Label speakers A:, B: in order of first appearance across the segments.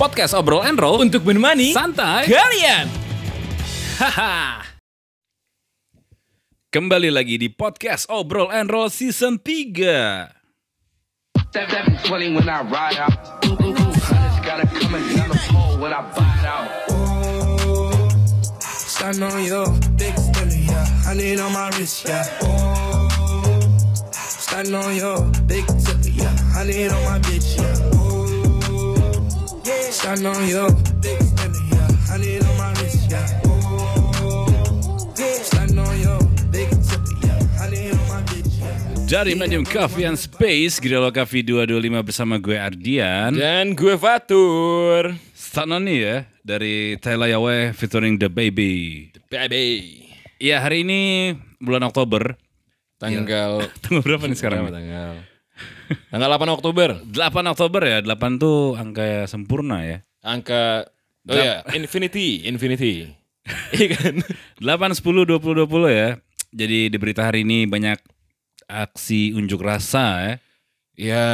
A: podcast obrol and roll
B: untuk menemani
A: santai
B: kalian.
A: Haha. Kembali lagi di podcast Obrol and Roll Season 3.
C: That that be 20 when I ride out. Ooh, ooh, ooh, Hundreds gotta come and down the pole when I bite out.
D: Stand on your big stemmy, yeah. I need on my wrist, yeah. Ooh. Stand on your big tip, yeah. I need on my bitch, yeah. Ooh. Stand on your big stemmy, yeah. I need on my wrist, yeah. Ooh. Stand on your big tip, yeah. I need on my bitch, yeah.
A: Dari Medium Coffee and Space, Grillo Coffee 225 bersama gue Ardian.
B: Dan gue Fatur.
A: Stanoni ya, dari Taylor Yawe featuring The Baby.
B: Baby.
A: Ya hari ini bulan Oktober.
B: Tanggal
A: Tanggal berapa nih sekarang?
B: berapa tanggal? Tanggal 8 Oktober.
A: 8 Oktober ya, 8 tuh angka sempurna ya.
B: Angka Oh ya, infinity, infinity. Iya kan?
A: 8, 10, 20, 20 ya. Jadi di berita hari ini banyak aksi unjuk rasa ya.
B: Ya,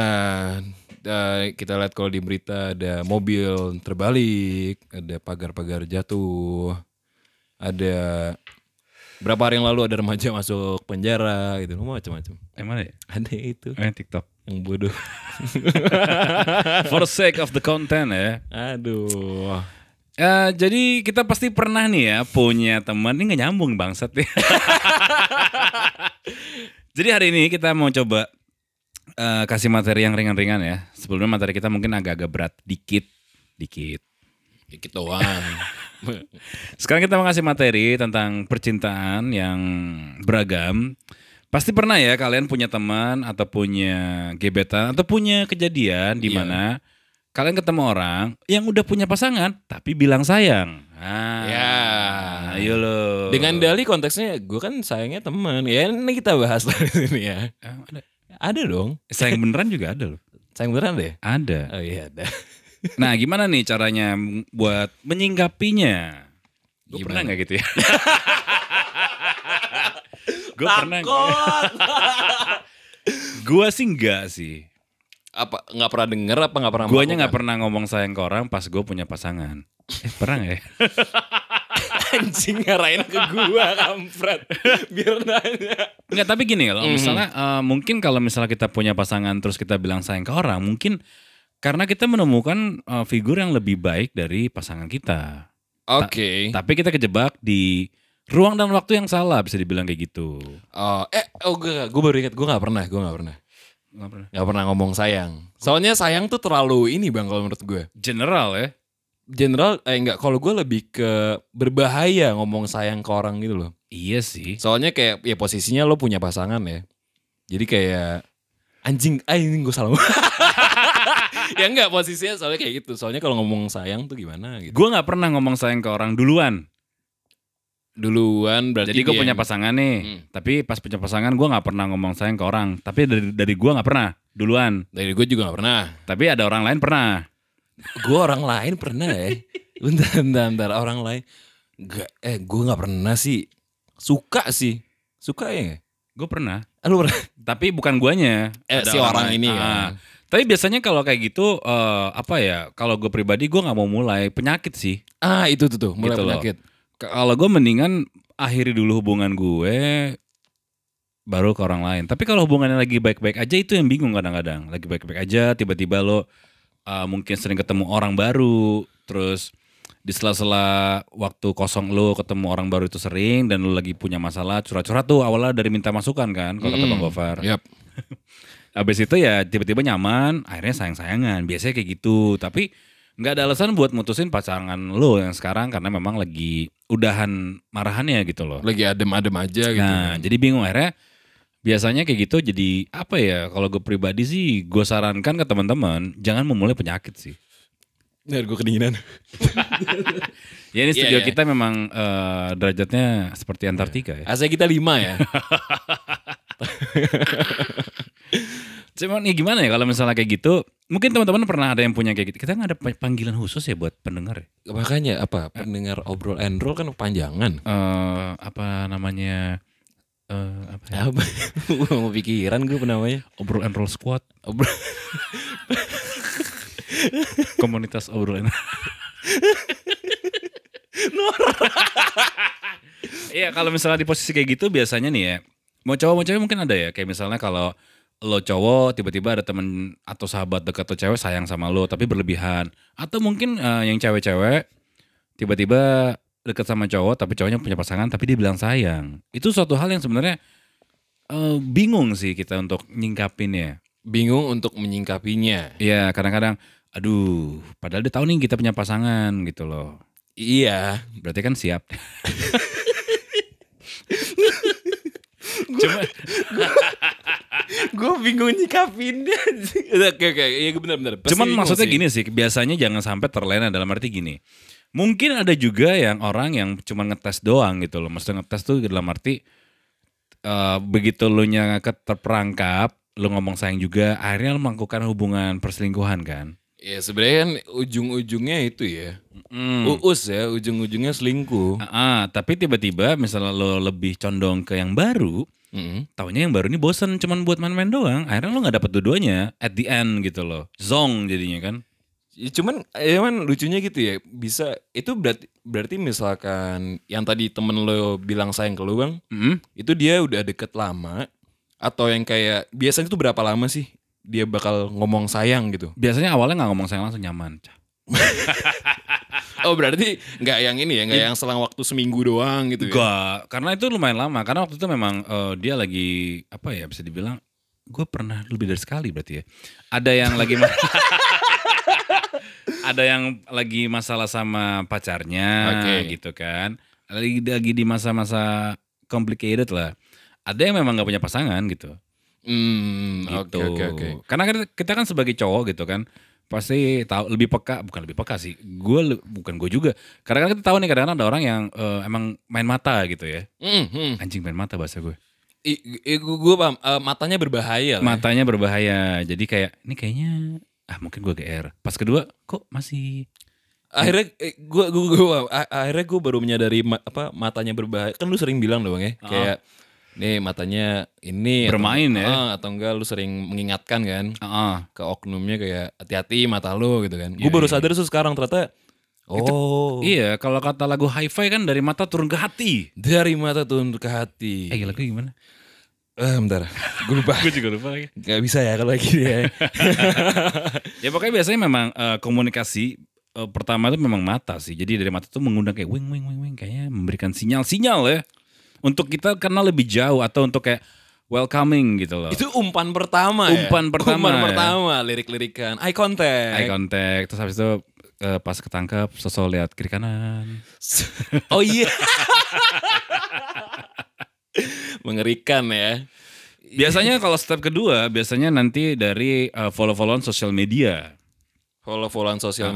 B: eh, kita lihat kalau di berita ada mobil terbalik, ada pagar-pagar jatuh, ada berapa hari yang lalu ada remaja masuk penjara gitu, macam-macam.
A: Emang ya?
B: Ada itu
A: Eh, TikTok.
B: yang bodoh.
A: For sake of the content ya.
B: Aduh.
A: Eh, jadi kita pasti pernah nih ya punya teman ini nggak nyambung bangsat ya. jadi hari ini kita mau coba eh, kasih materi yang ringan-ringan ya. Sebelumnya materi kita mungkin agak-agak berat dikit, dikit.
B: Dikit doang.
A: Sekarang kita mau ngasih materi tentang percintaan yang beragam. Pasti pernah ya kalian punya teman atau punya gebetan atau punya kejadian di
B: Iya.
A: mana kalian ketemu orang yang udah punya pasangan tapi bilang sayang. Ah,
B: Ya.
A: ayo lo.
B: Dengan Dali konteksnya gue kan sayangnya teman. Ya ini kita bahas lah di sini ya.
A: Ah, ada.
B: Ada dong.
A: sayang beneran juga ada loh.
B: Sayang beneran deh.
A: Ada.
B: Oh iya ada.
A: Nah, gimana nih caranya buat menyingkapinya? Gue pernah nggak gitu ya? gue pernah. Gue sih enggak sih.
B: Apa nggak pernah denger apa nggak pernah?
A: Guanya nggak
B: melakukan?
A: pernah ngomong sayang ke orang pas gue punya pasangan. Eh, pernah nggak ya?
B: anjing ngarahin ke gua kampret. Biar nanya.
A: Enggak, tapi gini kalau misalnya eh, mungkin kalau misalnya kita punya pasangan terus kita bilang sayang ke orang, mungkin karena kita menemukan eh, figur yang lebih baik dari pasangan kita.
B: Oke.
A: Tapi kita kejebak di ruang dan waktu yang salah bisa dibilang kayak gitu.
B: Oh, eh oh gue gue baru ingat gue nggak pernah gue nggak pernah
A: Nggak pernah.
B: nggak pernah ngomong sayang. Soalnya sayang tuh terlalu ini bang kalau menurut gue.
A: General ya.
B: General eh enggak kalau gue lebih ke berbahaya ngomong sayang ke orang gitu loh.
A: Iya sih.
B: Soalnya kayak ya posisinya lo punya pasangan ya. Jadi kayak anjing, ah ini gue salah. ngomong. ya enggak posisinya soalnya kayak gitu. Soalnya kalau ngomong sayang tuh gimana gitu.
A: Gue nggak pernah ngomong sayang ke orang duluan.
B: Duluan berarti
A: Jadi gue
B: dia
A: punya
B: yang-
A: pasangan nih.
B: Hmm.
A: Tapi pas punya pasangan gue nggak pernah ngomong sayang ke orang. Tapi dari dari gue nggak pernah duluan.
B: Dari gue juga gak pernah.
A: Tapi ada orang lain pernah.
B: gue orang lain pernah ya. Bentar, bentar, bentar. Orang lain. Enggak, eh gue gak pernah sih. Suka sih. Suka ya nggak?
A: Gue pernah.
B: Ah, Lu pernah?
A: Tapi bukan guanya.
B: Eh,
A: Ada
B: si orang
A: lain.
B: ini
A: Ah.
B: kan.
A: Tapi biasanya kalau kayak gitu eh, apa ya? Kalau gue pribadi gue nggak mau mulai penyakit sih.
B: Ah itu tuh tuh, mulai
A: Gitu loh.
B: penyakit.
A: Kalau gue mendingan akhiri dulu hubungan gue baru ke orang lain. Tapi kalau hubungannya lagi baik-baik aja itu yang bingung kadang-kadang. Lagi baik-baik aja tiba-tiba lo uh, mungkin sering ketemu orang baru, terus di sela-sela waktu kosong lo ketemu orang baru itu sering dan lo lagi punya masalah curhat-curhat tuh awalnya dari minta masukan kan kalau kata Bang Gofar.
B: Yap.
A: Abis itu ya tiba-tiba nyaman, akhirnya sayang-sayangan. Biasanya kayak gitu. Tapi nggak ada alasan buat mutusin pasangan lo yang sekarang karena memang lagi udahan marahannya gitu loh.
B: Lagi adem-adem aja gitu.
A: Nah, jadi bingung akhirnya biasanya kayak gitu jadi apa ya kalau gue pribadi sih gue sarankan ke teman-teman jangan memulai penyakit sih.
B: Ntar gue kedinginan.
A: Ya ini
B: Iya,
A: studio
B: iya.
A: kita memang eh, derajatnya seperti Antartika ya.
B: AC kita lima ya.
A: Cuman ya gimana ya kalau misalnya kayak gitu, mungkin teman-teman pernah ada yang punya kayak gitu. Kita nggak ada pa- panggilan khusus ya buat pendengar ya?
B: Makanya apa pendengar obrol and roll kan panjangan.
A: Eh, apa namanya eh apa ya?
B: Apa? Gua mau pikiran gue namanya.
A: obrol and roll squad
B: Obrol.
A: Komunitas obrolan. Iya kalau misalnya di posisi kayak gitu biasanya nih ya mau cowok mau cewek mungkin ada ya kayak misalnya kalau lo cowok tiba-tiba ada temen atau sahabat dekat atau cewek sayang sama lo tapi berlebihan atau mungkin eh, yang cewek-cewek tiba-tiba dekat sama cowok tapi cowoknya punya pasangan tapi dia bilang sayang itu suatu hal yang sebenarnya eh, bingung sih kita untuk nyingkapinnya
B: Bingung untuk menyingkapinya.
A: Iya kadang-kadang aduh padahal dia tahu nih kita punya pasangan gitu loh
B: Iya.
A: Berarti kan siap. Cuma
B: Gue bingung nyikapinnya. oke oke, iya benar-benar.
A: cuman maksudnya gini sih, biasanya jangan sampai terlena dalam arti gini. Mungkin ada juga yang orang yang cuma ngetes doang gitu loh. Maksudnya ngetes tuh dalam arti eh, begitu lu nya ke- terperangkap, lu ngomong sayang juga, akhirnya lu melakukan hubungan perselingkuhan kan.
B: Ya sebenarnya kan ujung-ujungnya itu ya.
A: Mm.
B: Uus ya, ujung-ujungnya selingkuh.
A: Ah, tapi tiba-tiba misalnya lo lebih condong ke yang baru,
B: Mm.
A: taunya yang baru ini bosen cuman buat main-main doang akhirnya lo nggak dapet dua-duanya at the end gitu loh zong jadinya kan
B: Ya, cuman ya man, lucunya gitu ya bisa itu berarti berarti misalkan yang tadi temen lo bilang sayang ke lo bang
A: Mm-mm.
B: itu dia udah deket lama atau yang kayak biasanya tuh berapa lama sih dia bakal ngomong sayang gitu
A: biasanya awalnya nggak ngomong sayang langsung nyaman Cah.
B: oh berarti nggak yang ini ya nggak yang selang waktu seminggu doang gitu ya
A: Nggak, karena itu lumayan lama karena waktu itu memang eh, dia lagi apa ya bisa dibilang gue pernah lebih dari sekali berarti ya ada yang lagi ma- ada yang lagi masalah sama pacarnya
B: Oke.
A: gitu kan lagi lagi di masa-masa complicated lah ada yang memang nggak punya pasangan gitu
B: Hmm, oke
A: gitu.
B: oke oke
A: Karena kan kita kan sebagai cowok gitu kan pasti tahu lebih peka bukan lebih peka sih gue bukan gue juga karena kan kita tahu nih kadang-kadang ada orang yang eh, emang main mata gitu ya
B: Hmm, hmm.
A: anjing main mata bahasa gue
B: I- i- gua gua paham Eh, matanya berbahaya lah ya.
A: matanya berbahaya jadi kayak ini kayaknya ah mungkin gue gr pas kedua kok masih
B: akhirnya eh, gua gua, gua, paham. A- akhirnya gua baru menyadari ma- apa matanya berbahaya kan lu sering bilang dong ya kayak nih matanya ini atau-
A: Bermain ya.
B: Ah, atau enggak lu sering mengingatkan kan
A: ah
B: ke oknumnya kayak hati-hati mata lu gitu kan gua baru sadar tuh sekarang ternyata oh
A: iya kalau kata lagu hi-fi kan dari mata turun ke hati
B: dari mata turun ke hati
A: eh lagu gimana
B: eh bentar gua lupa
A: gue juga lupa lagi
B: nggak bisa ya kalau lagi ya
A: Ya pokoknya biasanya memang eh, komunikasi eh, pertama itu memang mata sih. Jadi dari mata tuh mengundang kayak wing wing wing wing kayaknya memberikan sinyal-sinyal ya. Untuk kita kenal lebih jauh atau untuk kayak welcoming gitu loh.
B: itu umpan pertama ya?
A: Umpan pertama
B: umpan
A: ya.
B: pertama lirik-lirikan eye contact
A: Eye contact terus habis itu eh, pas ketangkep sosok lihat kiri kanan.
B: Oh iya. Mengerikan ya.
A: Biasanya kalau step kedua biasanya nanti dari eh, follow-followan sosial media.
B: Follow-followan sosial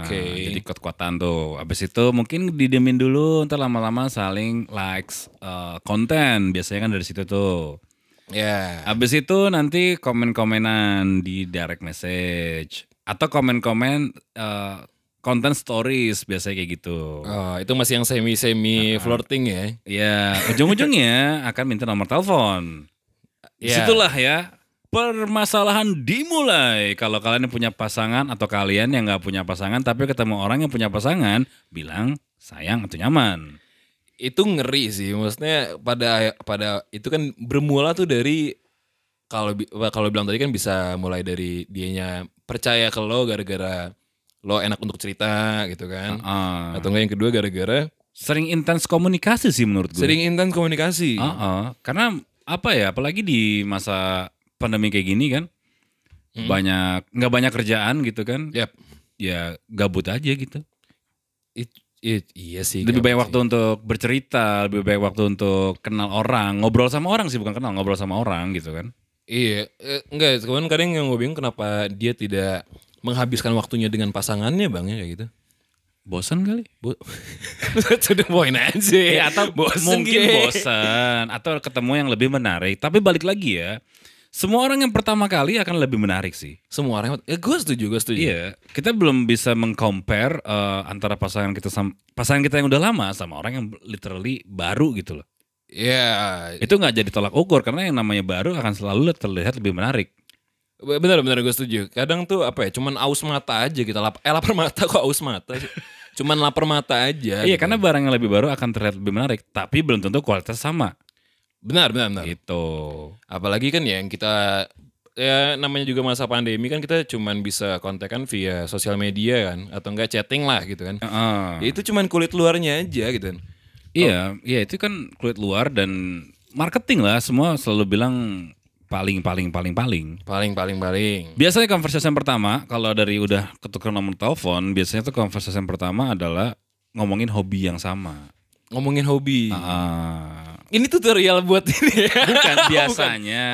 A: Ah,
B: Oke.
A: Jadi kuat-kuatan tuh. Abis itu mungkin didemin dulu, ntar lama-lama saling likes eh, konten. Biasanya kan dari situ tuh.
B: ya.
A: Abis itu nanti komen-komenan di direct message atau komen-komen eh, konten stories biasanya kayak gitu.
B: Oh, itu masih yang semi-semi flirting ya.
A: Ya, ujung-ujungnya akan minta nomor telepon.
B: Ya.
A: Disitulah ya permasalahan dimulai. Kalau kalian yang punya pasangan atau kalian yang nggak punya pasangan tapi ketemu orang yang punya pasangan, bilang sayang atau nyaman.
B: Itu ngeri sih. Maksudnya pada pada itu kan bermula tuh dari kalau bi- kalau bilang tadi kan bisa mulai dari dianya percaya ke lo gara-gara lo enak untuk cerita gitu kan.
A: Ah,
B: Atau enggak yang kedua gara-gara
A: sering intens komunikasi sih menurut gue.
B: sering intens komunikasi.
A: Ah, ah. karena apa ya, apalagi di masa pandemi kayak gini kan, banyak nggak banyak kerjaan gitu kan,
B: Yap.
A: ya gabut aja gitu.
B: It- it- iya sih.
A: Lebih
B: gabut
A: banyak
B: sih.
A: waktu untuk bercerita, lebih banyak waktu untuk kenal orang, ngobrol sama orang sih bukan kenal, ngobrol sama orang gitu kan.
B: Iya, eh, enggak. Cuman kadang yang gue bingung kenapa dia tidak menghabiskan waktunya dengan pasangannya bang ya kayak gitu.
A: Bosan kali?
B: Bo- to the point aja.
A: Ya, atau
B: Bosen
A: mungkin
B: ge.
A: bosan atau ketemu yang lebih menarik. Tapi balik lagi ya, semua orang yang pertama kali akan lebih menarik sih.
B: Semua orang, ya, gue setuju, gue setuju.
A: Iya, kita belum bisa mengcompare eh, antara pasangan kita sama pasangan kita yang udah lama sama orang yang literally baru gitu loh.
B: Iya.
A: Itu nggak jadi tolak ukur karena yang namanya baru akan selalu terlihat lebih menarik.
B: Bener bener gue setuju. Kadang tuh apa ya? Cuman aus mata aja kita lap. Eh lapar mata kok aus mata. sih? Cuman lapar mata aja.
A: Iya
B: gitu.
A: karena barang yang lebih baru akan terlihat lebih menarik, tapi belum tentu kualitas sama.
B: benar benar benar.
A: Gitu.
B: Apalagi kan ya yang kita ya namanya juga masa pandemi kan kita cuman bisa kontekan via sosial media kan atau enggak chatting lah gitu kan.
A: Heeh.
B: Ya, itu cuman kulit luarnya aja gitu kan.
A: Iya, iya itu kan kulit luar dan marketing lah semua selalu bilang paling paling paling paling.
B: Paling paling paling.
A: Biasanya conversation pertama kalau dari udah ketukar nomor telepon, biasanya tuh conversation pertama adalah ngomongin hobi yang sama.
B: Ngomongin hobi.
A: Ah,
B: Ini tutorial buat ini. ya.
A: bukan
B: Oh,
A: biasanya.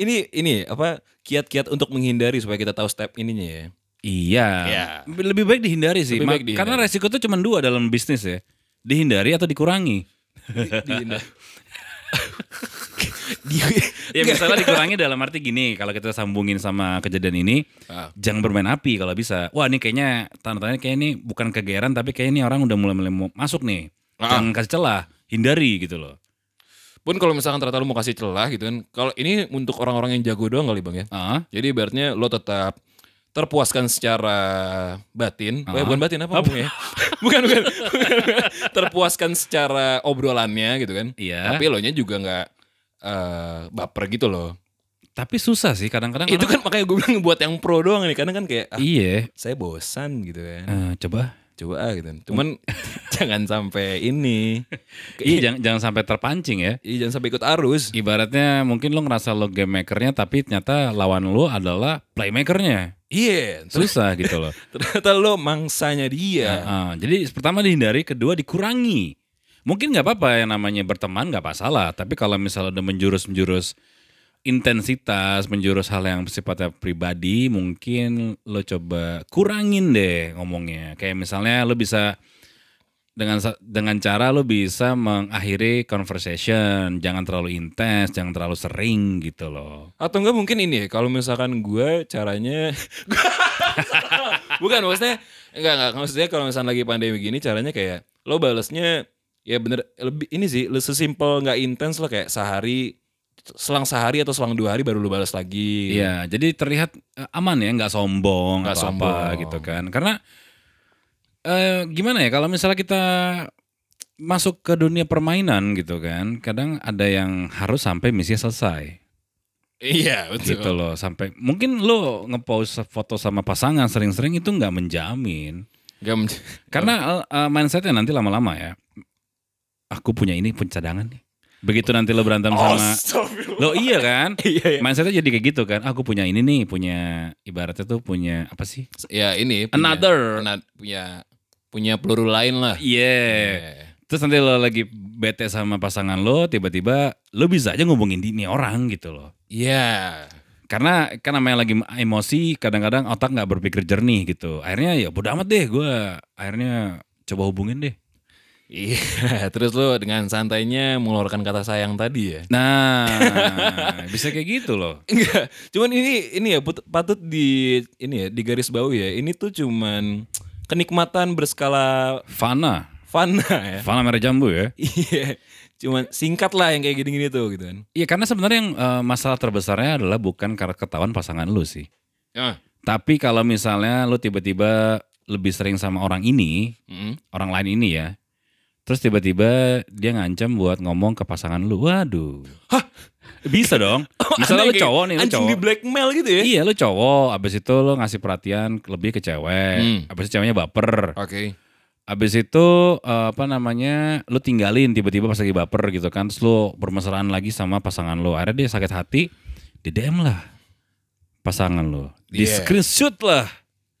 B: ini ini apa kiat-kiat untuk menghindari supaya kita tahu step ininya ya.
A: Iya.
B: Iya.
A: Lebih baik dihindari sih.
B: Lebih
A: Ma-
B: baik dihindari.
A: Karena resiko tuh cuma dua dalam bisnis ya. Dihindari atau dikurangi.
B: Dihindari.
A: Ya misalnya dikurangi dalam arti gini, kalau kita sambungin sama kejadian ini,
B: Ah.
A: jangan bermain api kalau bisa. Wah ini kayaknya tanda-tandanya kayak ini bukan kegeeran tapi kayak ini orang udah mulai-mulai mau masuk nih.
B: Ah.
A: Jangan kasih celah, hindari gitu loh.
B: Pun kalau misalkan ternyata lu mau kasih celah gitu kan. Kalau ini untuk orang-orang yang jago doang kali Bang ya.
A: Ah,
B: Jadi ibaratnya lo tetap terpuaskan secara batin. Eh, bukan batin apa, ngomongnya ya? bukan, bukan. terpuaskan secara obrolannya gitu kan.
A: Iya.
B: Tapi lo nya juga nggak eh, baper gitu loh.
A: Tapi susah sih kadang-kadang.
B: Itu
A: orang-
B: kan makanya gue bilang buat yang pro doang nih. Karena kan kayak ah,
A: iya.
B: saya bosan gitu kan.
A: Eh, coba.
B: Coba ah gitu. Cuman jangan sampai ini.
A: Iya jangan, jangan sampai terpancing ya.
B: Iya, jangan sampai ikut arus.
A: Ibaratnya mungkin lo ngerasa lo game makernya tapi ternyata lawan lo adalah playmakernya.
B: Iya. terus
A: Susah gitu loh.
B: Ternyata lo mangsanya
A: Heeh,
B: dia.
A: Iya. Ah, jadi pertama dihindari, kedua dikurangi. Mungkin nggak apa-apa yang namanya berteman nggak masalah, tapi kalau misalnya udah menjurus-menjurus intensitas, menjurus hal yang sifatnya pribadi, mungkin lo coba kurangin deh ngomongnya. Kayak misalnya lo bisa dengan sa- dengan cara lo bisa mengakhiri conversation, jangan terlalu intens, jangan terlalu sering gitu loh.
B: Atau enggak mungkin ini ya, kalau misalkan gue caranya... Bukan, maksudnya... Enggak, enggak. Maksudnya kalau misalkan lagi pandemi gini, caranya kayak... Lo balesnya... Ya bener, lebih ini sih, lo sesimpel nggak intens lo kayak sehari... Selang sehari atau selang dua hari baru lo balas lagi.
A: Iya, jadi terlihat eh, aman ya, nggak sombong,
B: Nggak
A: nggak sombong
B: sombong.
A: gitu kan. Karena eh, gimana ya, kalau misalnya kita masuk ke dunia permainan gitu kan, kadang ada yang harus sampai misi selesai
B: Iya, betul.
A: gitu loh, sampai mungkin lo ngepost foto sama pasangan sering-sering itu nggak menjamin,
B: Nggak men-
A: karena eh, mindsetnya nanti lama-lama ya, aku punya ini punya cadangan nih. Begitu nanti lo berantem
B: Oh,
A: sama
B: Astagfirullah.
A: Lo iya kan?
B: Iya, iya.
A: Mindsetnya jadi kayak gitu kan. Aku punya ini nih, punya ibaratnya tuh punya apa sih?
B: Ya ini. punya-
A: Another.
B: ana- Punya, punya peluru lain lah.
A: Iya.
B: Iya.
A: Terus nanti lo lagi bete sama pasangan lo, tiba-tiba lo bisa aja ngomongin ini orang gitu loh.
B: Iya.
A: Karena kan namanya lagi emosi, kadang-kadang otak nggak berpikir jernih gitu. Akhirnya ya bodo amat deh gue. Akhirnya coba hubungin deh.
B: Iya, terus lo dengan santainya mengeluarkan kata sayang tadi ya.
A: Nah, bisa kayak gitu loh.
B: Enggak, cuman ini ini ya put- patut di ini ya di garis bawah ya. Ini tuh cuman kenikmatan berskala
A: Fana,
B: fana ya.
A: Fana merah jambu ya.
B: Iya. cuman singkat lah yang kayak gini-gini tuh gitu kan.
A: Iya karena sebenarnya yang eh, masalah terbesarnya adalah bukan karena ketahuan pasangan lo sih.
B: Ah.
A: Tapi kalau misalnya lu tiba-tiba lebih sering sama orang ini,
B: Mm.
A: orang lain ini ya, terus tiba-tiba dia ngancam buat ngomong ke pasangan lu, waduh. Bisa dong. Misalnya lu
B: Aneh kayak
A: cowok nih, lu
B: anjing
A: cowok.
B: di blackmail gitu ya.
A: Iya lu cowok, abis itu lu ngasih perhatian lebih ke cewek,
B: Hmm.
A: abis itu ceweknya baper.
B: Oke.
A: Abis itu eh, apa namanya, lu tinggalin tiba-tiba pas lagi baper gitu kan, terus lu bermesraan lagi sama pasangan lu. Akhirnya dia sakit hati, di DM lah pasangan lu. Di
B: Iya.
A: screenshot lah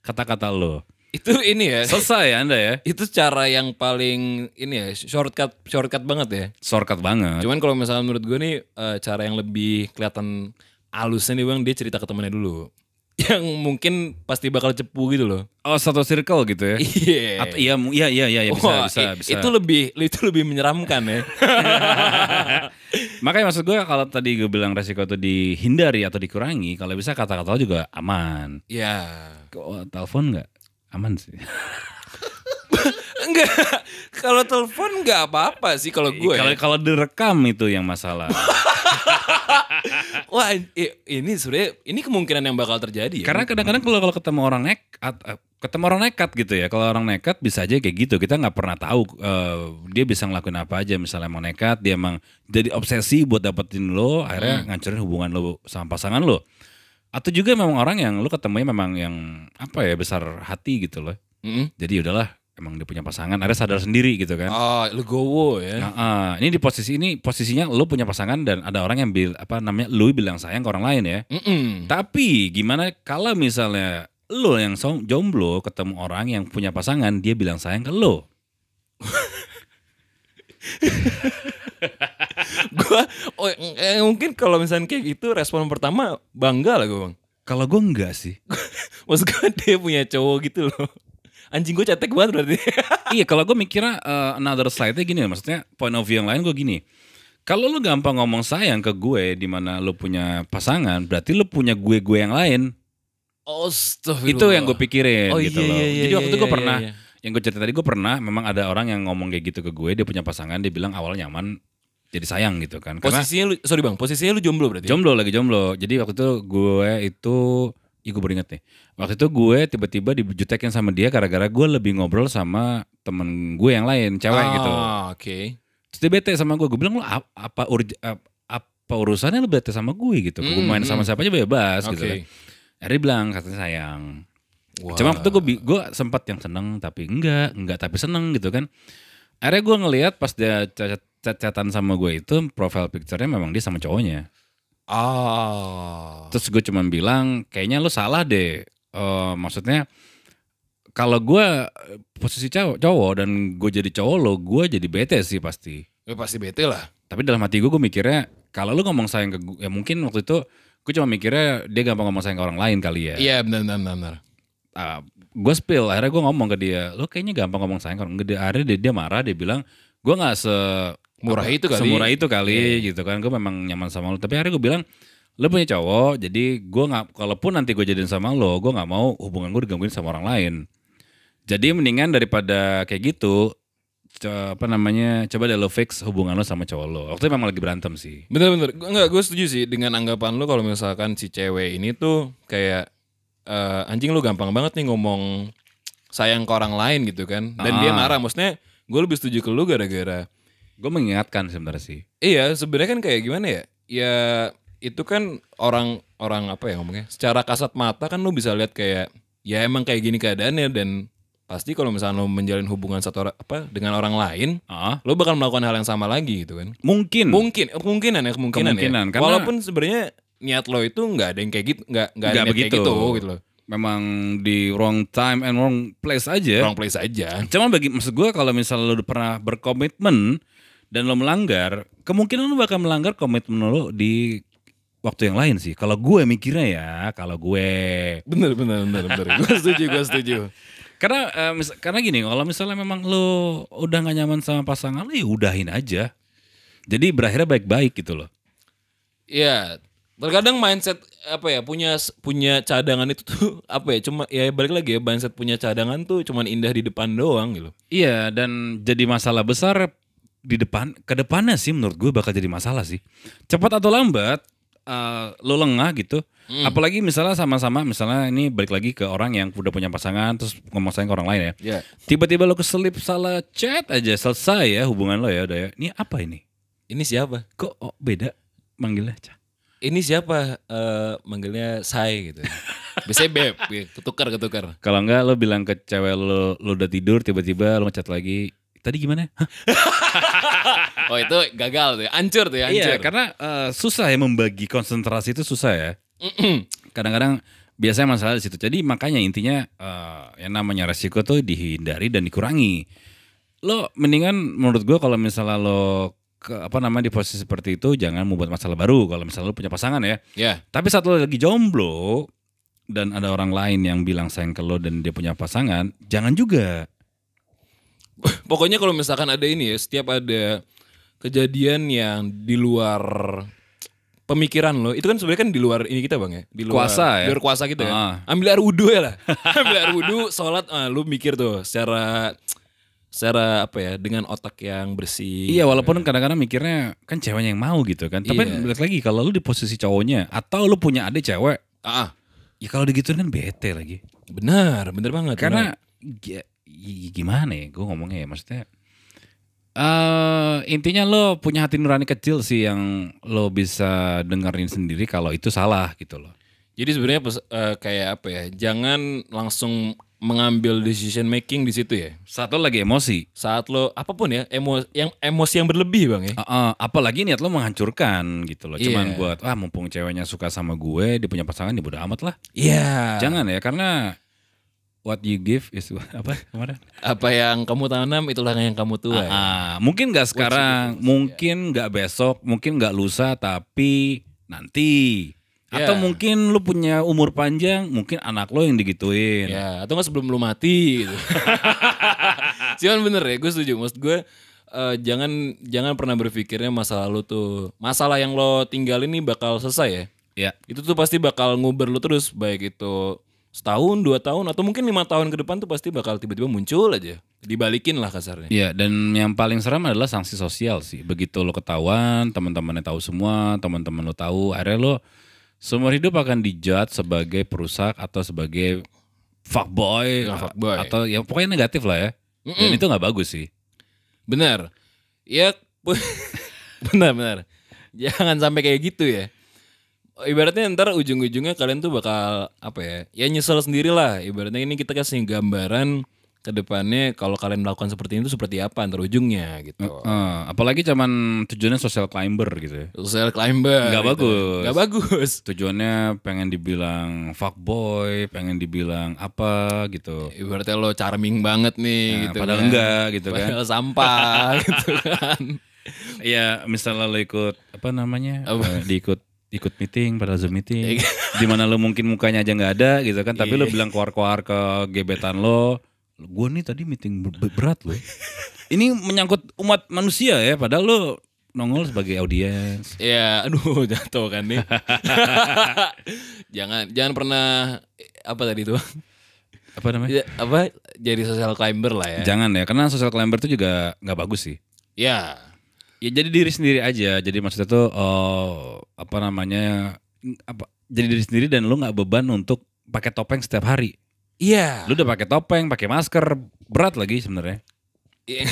A: kata-kata lu.
B: Itu ini ya.
A: Selesai ya Anda ya.
B: itu cara yang paling ini ya shortcut shortcut banget ya.
A: Shortcut banget.
B: Cuman kalau misalnya menurut gue nih eh, cara yang lebih kelihatan alusnya nih bang dia cerita ke temennya dulu. Yang mungkin pasti bakal cepu gitu loh.
A: Oh satu circle gitu ya.
B: Iya.
A: Atau iya, mu- iya, iya, iya, iya, bisa,
B: Wah,
A: bisa,
B: i-
A: bisa.
B: Itu lebih itu lebih menyeramkan ya.
A: Makanya maksud gue kalau tadi gue bilang resiko itu dihindari atau dikurangi, kalau bisa kata-kata juga aman. oh,
B: Iya.
A: Kok telepon nggak? Aman sih.
B: Enggak. Kalau telepon enggak apa-apa sih kalau ya. gue.
A: Kalau kalau direkam itu yang masalah.
B: Wah, i- ini sebenarnya ini kemungkinan yang bakal terjadi ya.
A: Karena kadang-kadang kalau kalau ketemu orang nekat, eh, ketemu orang nekat gitu ya. Kalau orang nekat bisa aja kayak gitu. Kita nggak pernah tahu eh, dia bisa ngelakuin apa aja. Misalnya mau nekat, dia emang jadi obsesi buat dapetin lo, akhirnya ngancurin hubungan lo sama pasangan lo. Atau juga memang orang yang lo ketemunya memang yang apa ya besar hati gitu loh.
B: Mm-mm.
A: Jadi udahlah, emang dia punya pasangan. Ada sadar sendiri gitu kan.
B: Oh, legowo ya.
A: Nah, ah, ini di posisi ini posisinya lo punya pasangan dan ada orang yang bil apa namanya lo bilang sayang ke orang lain ya.
B: Mm-mm.
A: Tapi gimana kalau misalnya lo yang som- jomblo ketemu orang yang punya pasangan dia bilang sayang ke lo.
B: Gua oh, eh, mungkin kalau misalnya kayak gitu respon pertama bangga lah gue, Bang.
A: Kalau gue enggak sih.
B: Maksud gue dia punya cowok gitu loh. Anjing gue cetek banget berarti.
A: iya kalau gue mikirnya eh, another side-nya gini maksudnya point of view yang lain gue gini. Kalau lo gampang ngomong sayang ke gue di mana lo punya pasangan berarti lo punya gue-gue yang lain.
B: Astagfirullah.
A: Itu yang gue pikirin
B: Oh,
A: gitu
B: iya,
A: loh.
B: iya, iya,
A: Jadi waktu
B: iya,
A: itu gue
B: iya,
A: pernah
B: iya.
A: yang gue cerita tadi gue pernah memang ada orang yang ngomong kayak gitu ke gue dia punya pasangan dia bilang awal nyaman jadi sayang gitu kan karena
B: Posisinya lu sorry Bang, posisinya lu jomblo berarti. ya?
A: jomblo lagi jomblo jadi waktu itu gue itu Ih gue beringat nih Waktu itu gue tiba-tiba dijutekin sama dia Gara-gara gue lebih ngobrol sama temen gue yang lain Cewek
B: Ah,
A: gitu
B: Oke.
A: Terus dia bete sama gue Gue bilang lo ap- apa, urj- ap- apa urusannya lo bete sama gue gitu Gue
B: Hmm,
A: main
B: hmm.
A: sama siapa aja bebas gitu
B: Oke.
A: kan Akhirnya dia bilang katanya sayang
B: Wah.
A: Cuma waktu itu gue bi- gue sempat yang seneng tapi enggak, enggak tapi seneng gitu kan. Akhirnya gue ngelihat pas dia cacat catatan sama gue itu profile picture-nya memang dia sama cowoknya.
B: Ah.
A: Terus gue cuman bilang kayaknya lu salah deh. Eh, maksudnya kalau gue eh, posisi cowok, cowok dan gue jadi cowok lo, gue jadi bete sih pasti.
B: Ya pasti bete lah.
A: Tapi dalam hati gue gue mikirnya kalau lu ngomong sayang ke gue, ya mungkin waktu itu gue cuma mikirnya dia gampang ngomong sayang ke orang lain kali ya.
B: Iya benar benar benar, benar.
A: gue uh, spill akhirnya gue ngomong ke dia lo kayaknya gampang ngomong sayang kalau gede akhirnya dia, dia marah dia bilang gue nggak se
B: Murah
A: apa,
B: itu kali. Iya,
A: semurah itu kali gitu kan gue memang nyaman sama lo tapi akhirnya gue bilang lo punya cowok jadi gue nggak kalaupun nanti gue jadian sama lo gue nggak mau hubungan gue digangguin sama orang lain jadi mendingan daripada kayak gitu co- apa namanya coba deh lo fix hubungan lo sama cowok lo waktu itu memang lagi berantem sih
B: Bener bener, Gua- enggak gue setuju sih dengan anggapan lu kalau misalkan si cewek ini tuh kayak eh, anjing lu gampang banget nih ngomong sayang ke orang lain gitu kan, dan dia
A: Ah.
B: marah. Maksudnya gue lebih setuju ke lu gara-gara
A: gue mengingatkan sebenarnya sih
B: iya sebenarnya kan kayak gimana ya? Ya itu kan orang orang apa ya ngomongnya? Secara kasat mata kan lu bisa lihat kayak ya emang kayak gini keadaannya dan pasti kalau misalnya lu menjalin hubungan satu orang- apa dengan orang lain,
A: ah
B: lu bakal melakukan hal yang sama lagi gitu kan.
A: mungkin
B: mungkin kemungkinan ya
A: Hmm.
B: kemungkinan,
A: Kemungkinan,
B: ya
A: karena-
B: walaupun sebenarnya niat lo itu nggak ada yang kayak gitu nggak nggak ada
A: Nggak
B: niat kayak
A: begitu.
B: gitu gitu loh
A: memang di wrong time and wrong place aja
B: wrong place aja
A: Cuma bagi maksud gue kalau misalnya lo udah pernah berkomitmen dan lo melanggar, kemungkinan lo bakal melanggar komitmen lo di waktu yang lain sih. Kalau gue mikirnya ya, kalau gue
B: bener bener bener bener gue setuju gue setuju
A: karena eh, mis- karena gini, kalau misalnya memang lo udah gak nyaman sama pasangan lo, ya udahin aja. Jadi berakhirnya baik-baik gitu loh.
B: ya terkadang mindset apa ya punya punya cadangan itu tuh apa ya cuma ya balik lagi ya mindset punya cadangan tuh cuman indah di depan doang gitu
A: Iya, dan jadi masalah besar di depan ke depannya sih menurut gue bakal jadi masalah sih. Cepat atau lambat eh, lo lengah gitu. Apalagi misalnya sama-sama misalnya ini balik lagi ke orang yang udah punya pasangan terus ngomong sayang ke orang lain ya.
B: ya
A: Tiba-tiba lo keselip salah chat aja selesai ya hubungan lo ya udah ya. Ini apa ini?
B: ini siapa
A: Kok oh, beda manggilnya? Cah?
B: ini siapa Eh manggilnya say gitu biasanya beb gitu. ketukar ketukar
A: Kalau enggak lo bilang ke cewek lo lo udah tidur tiba-tiba lo ngechat lagi. Tadi gimana? Hah?
B: oh itu gagal tuh ya. hancur tuh ya hancur
A: Iya, karena eh, susah ya membagi konsentrasi itu susah ya. Kadang-kadang biasanya masalah di situ. Jadi makanya intinya eh, yang namanya resiko tuh dihindari dan dikurangi. Lo mendingan menurut gua kalau misalnya lo ke, apa namanya di posisi seperti itu jangan membuat masalah baru kalau misalnya lo punya pasangan ya.
B: ya
A: Tapi saat lo lagi jomblo dan ada orang lain yang bilang sayang ke lo dan dia punya pasangan, jangan juga.
B: Pokoknya kalau misalkan ada ini ya, setiap ada kejadian yang di luar pemikiran lo, itu kan sebenarnya kan di luar ini kita bang ya, di luar
A: Kuasa ya?
B: di luar kuasa kita kan.
A: Ah.
B: Ambil air wudhu ya lah, ambil air wudhu, sholat, ah, lu mikir tuh secara secara apa ya dengan otak yang bersih.
A: Iya walaupun kadang-kadang mikirnya kan ceweknya yang mau gitu kan. Tapi
B: Iya.
A: balik lagi kalau lu di posisi cowoknya atau lu punya adik cewek,
B: Ah,
A: ya kalau digituin kan bete lagi.
B: benar, benar banget.
A: Karena gi- i- gimana ya gue ngomongnya ya maksudnya. eh intinya lo punya hati nurani kecil sih yang lo bisa dengerin sendiri kalau itu salah gitu loh.
B: Jadi sebenarnya pes- eh, kayak apa ya? Jangan langsung mengambil decision making di situ ya.
A: Satu lagi emosi.
B: Saat lo apapun ya, emosi yang emosi yang berlebih, Bang ya.
A: Heeh, apalagi niat lo menghancurkan gitu loh. Cuman
B: Iya.
A: buat ah mumpung ceweknya suka sama gue, dia punya pasangan ya bodo amat lah.
B: Iya.
A: Jangan ya karena what you give is apa kemarin?
B: Apa yang kamu tanam itulah yang kamu tuai.
A: Ah, mungkin nggak sekarang, mungkin nggak besok, mungkin nggak lusa, tapi nanti. Atau
B: Ya.
A: mungkin lu punya umur panjang, mungkin anak lo yang digituin.
B: Ya, atau nggak sebelum lu mati gitu. Cuman bener ya, gue setuju. Maksud gue eh, jangan jangan pernah berpikirnya masa lalu tuh masalah yang lo tinggalin nih bakal selesai ya.
A: Ya.
B: Itu tuh pasti bakal nguber lu terus baik itu setahun, dua tahun atau mungkin lima tahun ke depan tuh pasti bakal tiba-tiba muncul aja. Dibalikin lah kasarnya.
A: Iya, dan yang paling seram adalah sanksi sosial sih. Begitu lo ketahuan, teman-temannya tahu semua, teman-teman lo tahu, akhirnya lo seumur hidup akan dijudge sebagai perusak atau sebagai fuckboy,
B: Ya, fuckboy.
A: atau ya pokoknya negatif lah ya. Dan itu nggak bagus sih.
B: Benar. Ya pu- benar benar. Jangan sampai kayak gitu ya. Ibaratnya ntar ujung-ujungnya kalian tuh bakal apa ya? Ya nyesel sendirilah. Ibaratnya ini kita kasih gambaran ke depannya kalau kalian melakukan seperti itu seperti apa ntar ujungnya gitu.
A: Eh, apalagi cuman tujuannya social climber gitu ya.
B: Social climber.
A: gitu. Nggak bagus.
B: Gak bagus.
A: Tujuannya pengen dibilang fuckboy, pengen dibilang apa gitu.
B: Ibaratnya lo charming banget nih
A: Nah,
B: gitu.
A: padahal
B: kan.
A: enggak gitu kan.
B: Padahal sampah gitu kan.
A: Iya, misalnya lo ikut apa namanya?
B: Apa? Iya.
A: eh, diikut ikut meeting padahal Zoom meeting di mana lo mungkin mukanya aja nggak ada gitu kan tapi lo bilang keluar-keluar ke gebetan lo gue nih tadi meeting ber- ber- berat lo ini menyangkut umat manusia ya padahal lo nongol sebagai audiens
B: Ya, aduh jatuh kan nih. jangan jangan pernah apa tadi itu?
A: apa namanya
B: Ya, apa jadi social climber lah ya.
A: jangan ya karena social climber itu juga nggak bagus sih
B: Ya.
A: Ya jadi diri sendiri aja. Jadi maksudnya tuh eh, apa namanya? Apa jadi diri sendiri dan lu nggak beban untuk pakai topeng setiap hari.
B: Iya.
A: Lu udah pakai topeng, pakai masker, berat lagi sebenarnya.
B: Iya.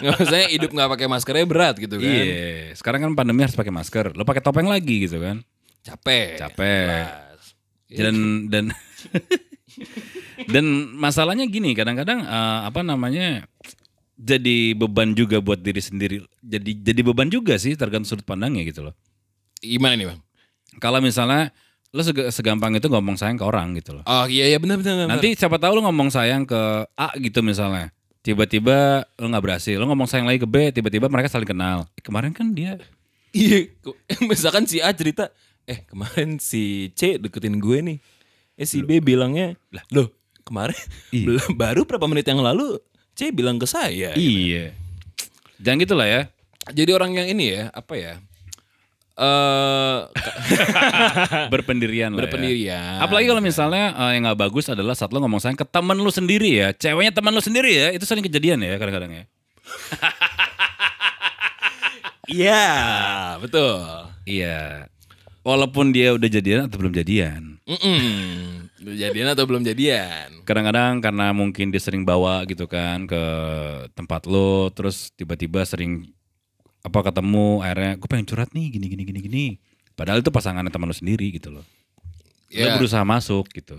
B: Nggak maksudnya hidup nggak pakai maskernya berat gitu kan.
A: Iya. Sekarang kan pandemi harus pakai masker. Lu pakai topeng lagi gitu kan.
B: Capek.
A: Capek.
B: Jelas.
A: Dan dan dan masalahnya gini, kadang-kadang eh, apa namanya? Jadi beban juga buat diri sendiri. Jadi jadi beban juga sih tergantung sudut pandangnya gitu loh.
B: Gimana nih, Bang?
A: Kalau misalnya lu sege- segampang itu ngomong sayang ke orang gitu loh.
B: Oh, iya iya benar benar. benar.
A: Nanti siapa tahu lu ngomong sayang ke A gitu misalnya. Tiba-tiba lu nggak berhasil. Lu ngomong sayang lagi ke B, tiba-tiba mereka saling kenal. Eh, kemarin kan dia
B: iya ke- misalkan si A cerita, eh kemarin si C deketin gue nih. Eh si B bilangnya, lah Iya. loh, kemarin belum baru berapa menit yang lalu C bilang ke saya.
A: Iya. Jangan gitu lah ya.
B: Jadi orang yang ini ya, apa ya? Eh
A: Berpendirian lah ya.
B: Berpendirian.
A: Apalagi kalau misalnya eh, yang nggak bagus adalah saat lu ngomong sayang ke teman lu sendiri ya. Ceweknya teman lu sendiri ya. Itu sering kejadian ya kadang-kadang ya.
B: Iya, betul.
A: Iya. Walaupun dia udah jadian atau belum jadian.
B: Mm-mm. Udah Jadian atau belum jadian?
A: kadang-kadang karena mungkin dia sering bawa gitu kan ke tempat lo terus tiba-tiba sering apa ketemu akhirnya gue pengen curhat nih gini gini gini gini padahal itu pasangannya teman lo sendiri gitu loh
B: Ya,
A: lo berusaha masuk gitu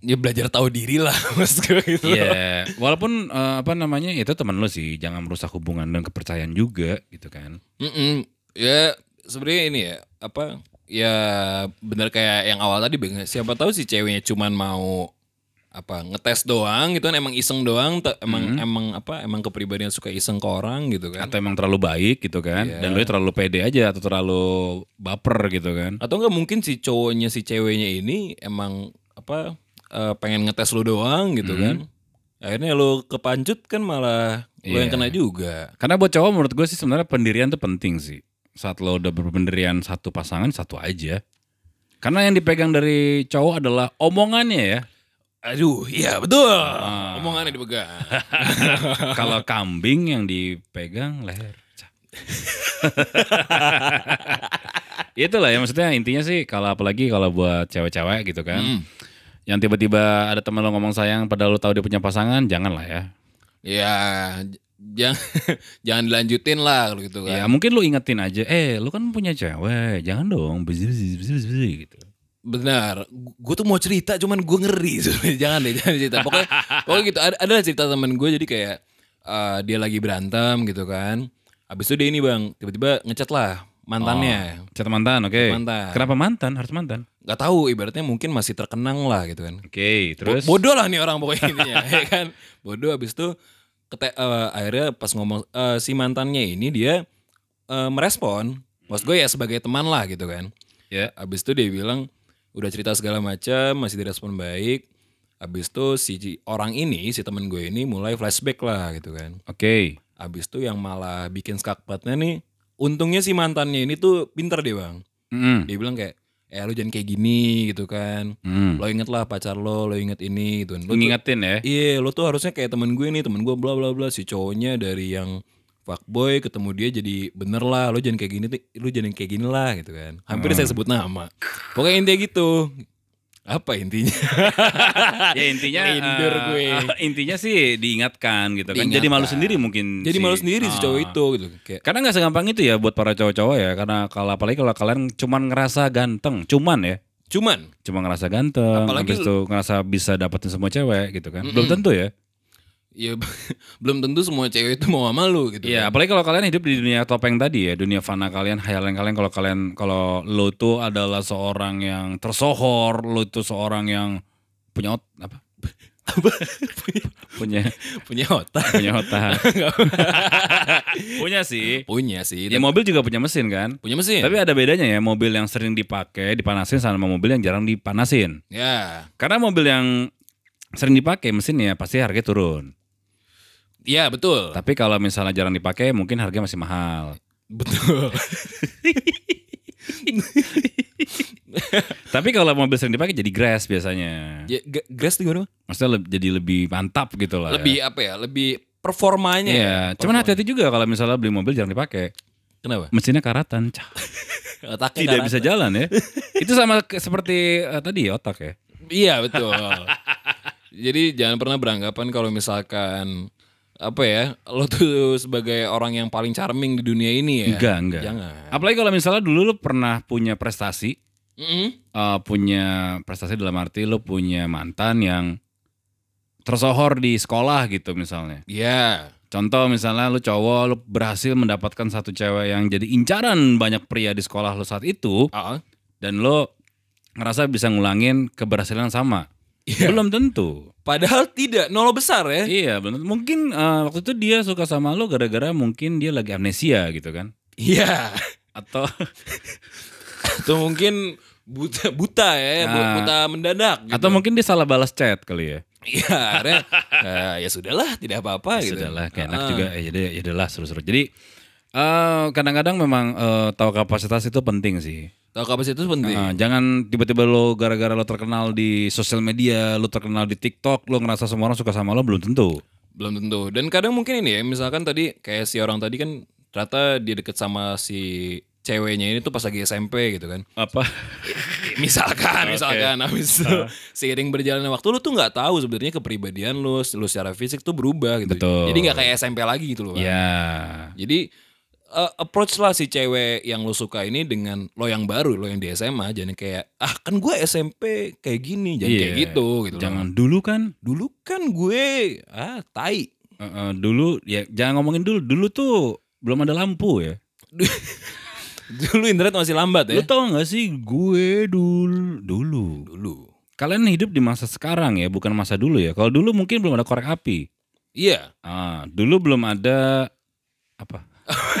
B: ya belajar tahu diri lah mas gue gitu.
A: Iya, walaupun eh, apa namanya itu teman lo sih jangan merusak hubungan dan kepercayaan juga gitu kan
B: Mm-mm. Ya sebenarnya ini ya apa? Ya benar kayak yang awal tadi Bang. Siapa tahu si ceweknya cuman mau apa ngetes doang gitu kan emang iseng doang te- emang
A: Mm-hmm.
B: emang apa emang kepribadian suka iseng ke orang gitu kan
A: atau emang terlalu baik gitu kan dan lo terlalu pede aja atau terlalu baper gitu kan
B: atau enggak mungkin si cowoknya si ceweknya ini emang apa eh, pengen ngetes lu doang gitu kan akhirnya lu kepancut kan malah lu yang kena juga
A: Karena buat cowok menurut gue sih sebenarnya pendirian tuh penting sih. Saat lo udah berpendirian satu pasangan satu aja. Karena yang dipegang dari cowok adalah omongannya ya.
B: Aduh, iya betul. Omongannya dipegang.
A: Kalau kambing yang dipegang leher. Cap. Itulah ya maksudnya intinya sih kalau apalagi kalau buat cewek-cewek gitu kan. Yang tiba-tiba ada temen lo ngomong sayang padahal lo tahu dia punya pasangan, jangan lah ya.
B: ya, j- jangan jangan dilanjutin lah kalau gitu
A: Ya
B: kan.
A: mungkin lo ingetin aja, eh lo kan punya cewek, jangan dong. Bzz, bzz, bzz, bzz, bzz, gitu.
B: Benar. Gue tuh mau cerita cuman gue ngeri sebenarnya. Jangan deh, jangan cerita. Pokoknya pokoknya gitu ada, ada cerita temen gue jadi kayak eh, dia lagi berantem gitu kan. Habis itu dia ini Bang, tiba-tiba ngechat lah mantannya.
A: Chat mantan, oke.
B: Mantan.
A: Kenapa mantan? Harus mantan.
B: nggak tahu ibaratnya mungkin masih terkenang lah gitu kan.
A: Oke, terus
B: Bo- bodoh lah nih orang pokoknya intinya ya kan. Bodoh habis itu kete- eh, akhirnya pas ngomong eh, si mantannya ini dia eh, merespon. Maksud gue ya sebagai teman lah gitu kan.
A: ya.
B: Habis itu dia bilang udah cerita segala macam masih direspon baik. Habis itu si orang ini si temen gue ini mulai flashback lah gitu kan.
A: Oke.
B: Habis itu yang malah bikin skakpatnya nih untungnya si mantannya ini tuh pinter deh bang.
A: Mm-mm.
B: Dia bilang kayak eh lu jangan kayak gini gitu kan
A: Mm.
B: lo inget lah pacar lo, lo inget ini gitu.
A: Lu
B: Lo tuh-
A: ngingetin ya.
B: Iya, lo tuh harusnya kayak temen gue nih, temen gue bla bla bla. Si cowoknya dari yang fuckboy ketemu dia jadi bener lah, lo jangan kayak gini, ti- lo jangan kayak gini lah gitu kan. Hampir
A: Hmm.
B: saya sebut nama. Pokoknya intinya gitu. Apa intinya?
A: ya intinya
B: Ngelindur
A: eh,
B: gue.
A: intinya sih diingatkan gitu kan jadi
B: Diingatkan.
A: malu sendiri mungkin
B: jadi
A: si-
B: malu sendiri si
A: Ah.
B: cowok itu gitu. Kayak
A: karena nggak segampang itu ya buat para cowok-cowok ya karena kalau apalagi kalau kalian cuman ngerasa ganteng cuman ya
B: cuman
A: cuma ngerasa ganteng
B: Apalagi
A: habis itu ngerasa bisa dapetin semua cewek gitu kan belum tentu ya
B: ya belum tentu semua cewek itu mau sama lu gitu.
A: Iya, apalagi kalau kalian hidup di dunia topeng tadi ya, dunia fana kalian, hayalan kalian kalau kalian kalau lo tuh adalah seorang yang tersohor, lo tuh seorang yang punya ot- apa? punya
B: Punya otak.
A: punya otak. punya sih.
B: Punya sih.
A: Ya
B: tapi-
A: mobil juga punya mesin kan?
B: punya mesin.
A: Tapi ada bedanya ya, mobil yang sering dipakai dipanasin sama mobil yang jarang dipanasin.
B: ya.
A: Karena mobil yang sering dipakai mesinnya pasti harganya turun.
B: Iya, betul.
A: Tapi kalau misalnya jarang dipakai mungkin harganya masih mahal.
B: Betul.
A: Tapi kalau mobil sering dipakai jadi grass biasanya.
B: Ya, G- Grass tuh gimana? Bang?
A: Maksudnya leb- jadi lebih mantap gitu lah. ya.
B: lebih apa ya lebih performanya
A: Iya,
B: ya.
A: cuman
B: Performanya.
A: hati-hati juga kalau misalnya beli mobil jarang dipakai.
B: kenapa
A: Mesinnya karatan, cah.
B: otaknya
A: tidak
B: karatan.
A: bisa jalan ya. Itu sama ke- seperti eh, tadi ya, otak ya.
B: iya betul jadi jangan pernah beranggapan kalau misalkan apa ya lo tuh sebagai orang yang paling charming di dunia ini ya
A: Enggak, enggak.
B: jangan
A: Apalagi kalau misalnya dulu lu pernah punya prestasi,
B: Mm-mm.
A: eh, punya prestasi dalam arti lu punya mantan yang tersohor di sekolah gitu misalnya.
B: Iya.
A: Contoh misalnya lu cowok, lu berhasil mendapatkan satu cewek yang jadi incaran banyak pria di sekolah lu saat itu,
B: Ah,
A: dan lo ngerasa bisa ngulangin keberhasilan sama. Belum tentu.
B: padahal tidak nol besar ya
A: Iya, benar. Mungkin eh, waktu itu dia suka sama lo gara-gara mungkin dia lagi amnesia gitu kan.
B: iya
A: Atau
B: atau mungkin buta buta ya bu-
A: Nah.
B: buta mendadak gitu.
A: atau mungkin dia salah balas chat kali ya.
B: iya akhirnya eh, ya sudahlah tidak apa-apa gitu
A: Sudahlah, kayak enak
B: Ah,
A: juga. Eh, jadi ya udahlah seru-seru. Jadi eh, kadang-kadang memang eh, tahu kapasitas itu penting sih.
B: tahu kapasitas penting
A: Eh, jangan tiba-tiba lo gara-gara lo terkenal di sosial media, lo terkenal di TikTok, lo ngerasa semua orang suka sama lo belum tentu.
B: Belum tentu. Dan kadang mungkin ini ya, misalkan tadi kayak si orang tadi kan ternyata dia deket sama si ceweknya ini tuh pas lagi SMP gitu kan.
A: Apa?
B: Misalkan, misalkan habis itu seiring berjalannya waktu lu tuh nggak tahu sebenarnya kepribadian lu, lu secara fisik tuh berubah gitu.
A: Betul.
B: Jadi nggak kayak SMP lagi gitu loh. Bang.
A: Ya.
B: Jadi eh, approach lah si cewek yang lu suka ini dengan lo yang baru, lo yang di SMA jangan kayak ah kan gue SMP kayak gini, jangan kayak
A: Iya.
B: gitu gitu. loh.
A: Jangan dulu kan
B: Dulu kan gue ah tai.
A: Uh, uh, dulu ya jangan ngomongin dulu. Dulu tuh belum ada lampu ya.
B: Dulu internet masih lambat ya.
A: Lu tau gak sih gue dulu dulu.
B: Dulu.
A: Kalian hidup di masa sekarang ya, bukan masa dulu ya. Kalau dulu mungkin belum ada korek api.
B: Iya,
A: Ah, dulu belum ada apa?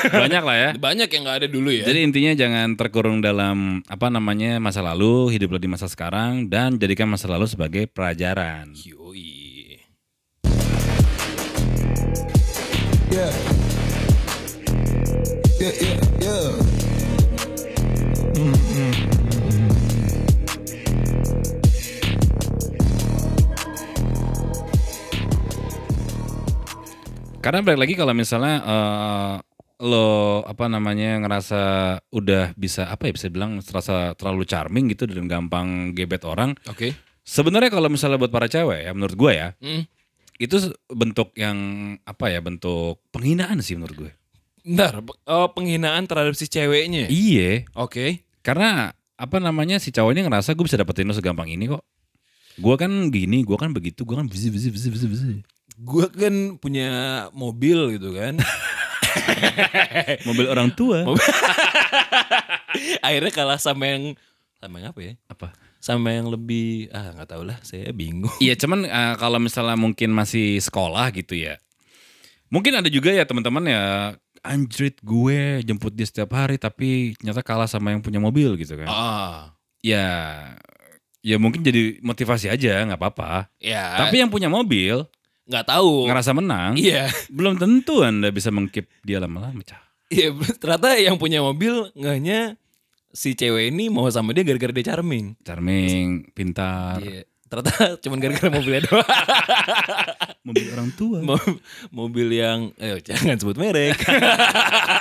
A: Banyak lah ya.
B: banyak yang nggak ada dulu ya.
A: Jadi intinya jangan terkurung dalam apa namanya masa lalu, hiduplah di masa sekarang dan jadikan masa lalu sebagai pelajaran.
B: Yoi.
D: Yeah. Yeah, yeah, yeah. Mm, mm, mm, mm.
A: Karena balik lagi kalau misalnya eh, lo apa namanya ngerasa udah bisa apa ya bisa bilang terasa terlalu charming gitu dan gampang gebet orang.
B: Oke.
A: Sebenarnya kalau misalnya buat para cewek ya menurut gua ya
B: Mm.
A: itu se- bentuk yang apa ya bentuk penghinaan sih menurut gue.
B: Ntar pe- oh, penghinaan terhadap si ceweknya. ya?
A: Iya.
B: Oke.
A: Karena apa namanya si cowok ini ngerasa gue bisa dapetin lo segampang ini kok. Gua kan gini, gua kan begitu, gua kan besi besi besi besi besi.
B: Gua kan punya mobil gitu kan.
A: Mobil orang tua.
B: Akhirnya kalah sama yang sama yang apa ya?
A: Apa?
B: Sama yang lebih ah nggak tahu lah, saya bingung.
A: Iya cuman eh, kalau misalnya mungkin masih sekolah gitu ya. Mungkin ada juga ya teman-teman ya anjrit gue jemput dia setiap hari tapi ternyata kalah sama yang punya mobil gitu kan.
B: Ah.
A: Ya ya mungkin jadi motivasi aja nggak apa-apa.
B: Ya.
A: Tapi yang punya mobil
B: nggak tahu.
A: ngerasa menang,
B: Iya.
A: belum tentu Anda bisa mengkip dia lama-lama. Cah.
B: Iya, ternyata yang punya mobil nggak hanya si cewek ini mau sama dia gara-gara dia charming.
A: Charming, pintar,
B: Iya. Ternyata cuman gara-gara mobilnya doang.
A: mobil orang tua.
B: Mo- mobil yang eh jangan sebut merek.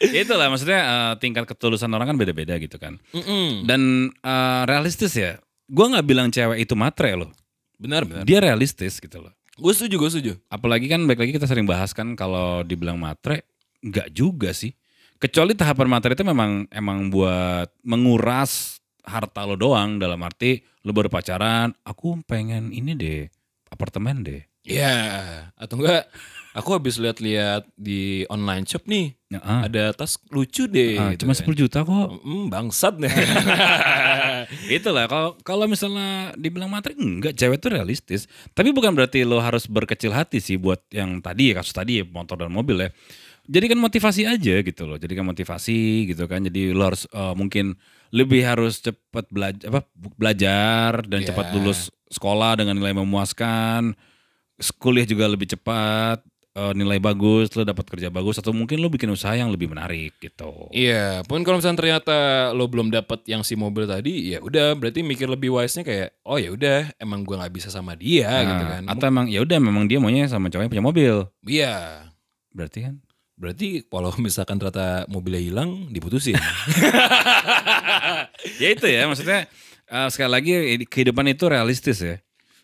A: Itulah maksudnya eh, tingkat ketulusan orang kan beda-beda gitu kan.
B: Mm-mm.
A: Dan eh, realistis ya. Gua nggak bilang cewek itu matre loh.
B: Benar, benar.
A: dia realistis gitu loh.
B: Gue setuju, gue setuju.
A: Apalagi kan baik lagi kita sering bahas kan kalau dibilang matre nggak juga sih. Kecuali tahapan materi itu memang emang buat menguras harta lo doang dalam arti lo baru pacaran, aku pengen ini deh apartemen deh.
B: Iya, atau enggak aku habis lihat-lihat di online shop nih,
A: Ya, ah,
B: ada tas lucu deh.
A: ah,
B: gitu
A: cuma
B: kan.
A: 10 juta kok.
B: Mm, bangsat deh.
A: Itulah Gitu kalau kalau misalnya dibilang materi enggak cewek itu realistis. Tapi bukan berarti lo harus berkecil hati sih buat yang tadi ya kasus tadi ya motor dan mobil ya. Jadikan motivasi aja gitu loh. Jadikan motivasi gitu kan. Jadi lo harus eh, mungkin lebih harus cepat belajar apa belajar dan
B: Ya.
A: cepat lulus sekolah dengan nilai memuaskan. Kuliah juga lebih cepat, eh, nilai bagus, lo dapat kerja bagus atau mungkin lo bikin usaha yang lebih menarik gitu.
B: Iya, pun kalau misalnya ternyata lo belum dapat yang si mobil tadi, ya udah berarti mikir lebih wise-nya kayak, oh ya udah, emang gue nggak bisa sama dia
A: Nah,
B: gitu kan.
A: Atau emang ya udah memang dia maunya sama cowoknya punya mobil.
B: Iya,
A: Berarti kan
B: berarti kalau misalkan ternyata mobilnya hilang, diputusin.
A: ya itu ya maksudnya eh, sekali lagi eh, kehidupan itu realistis ya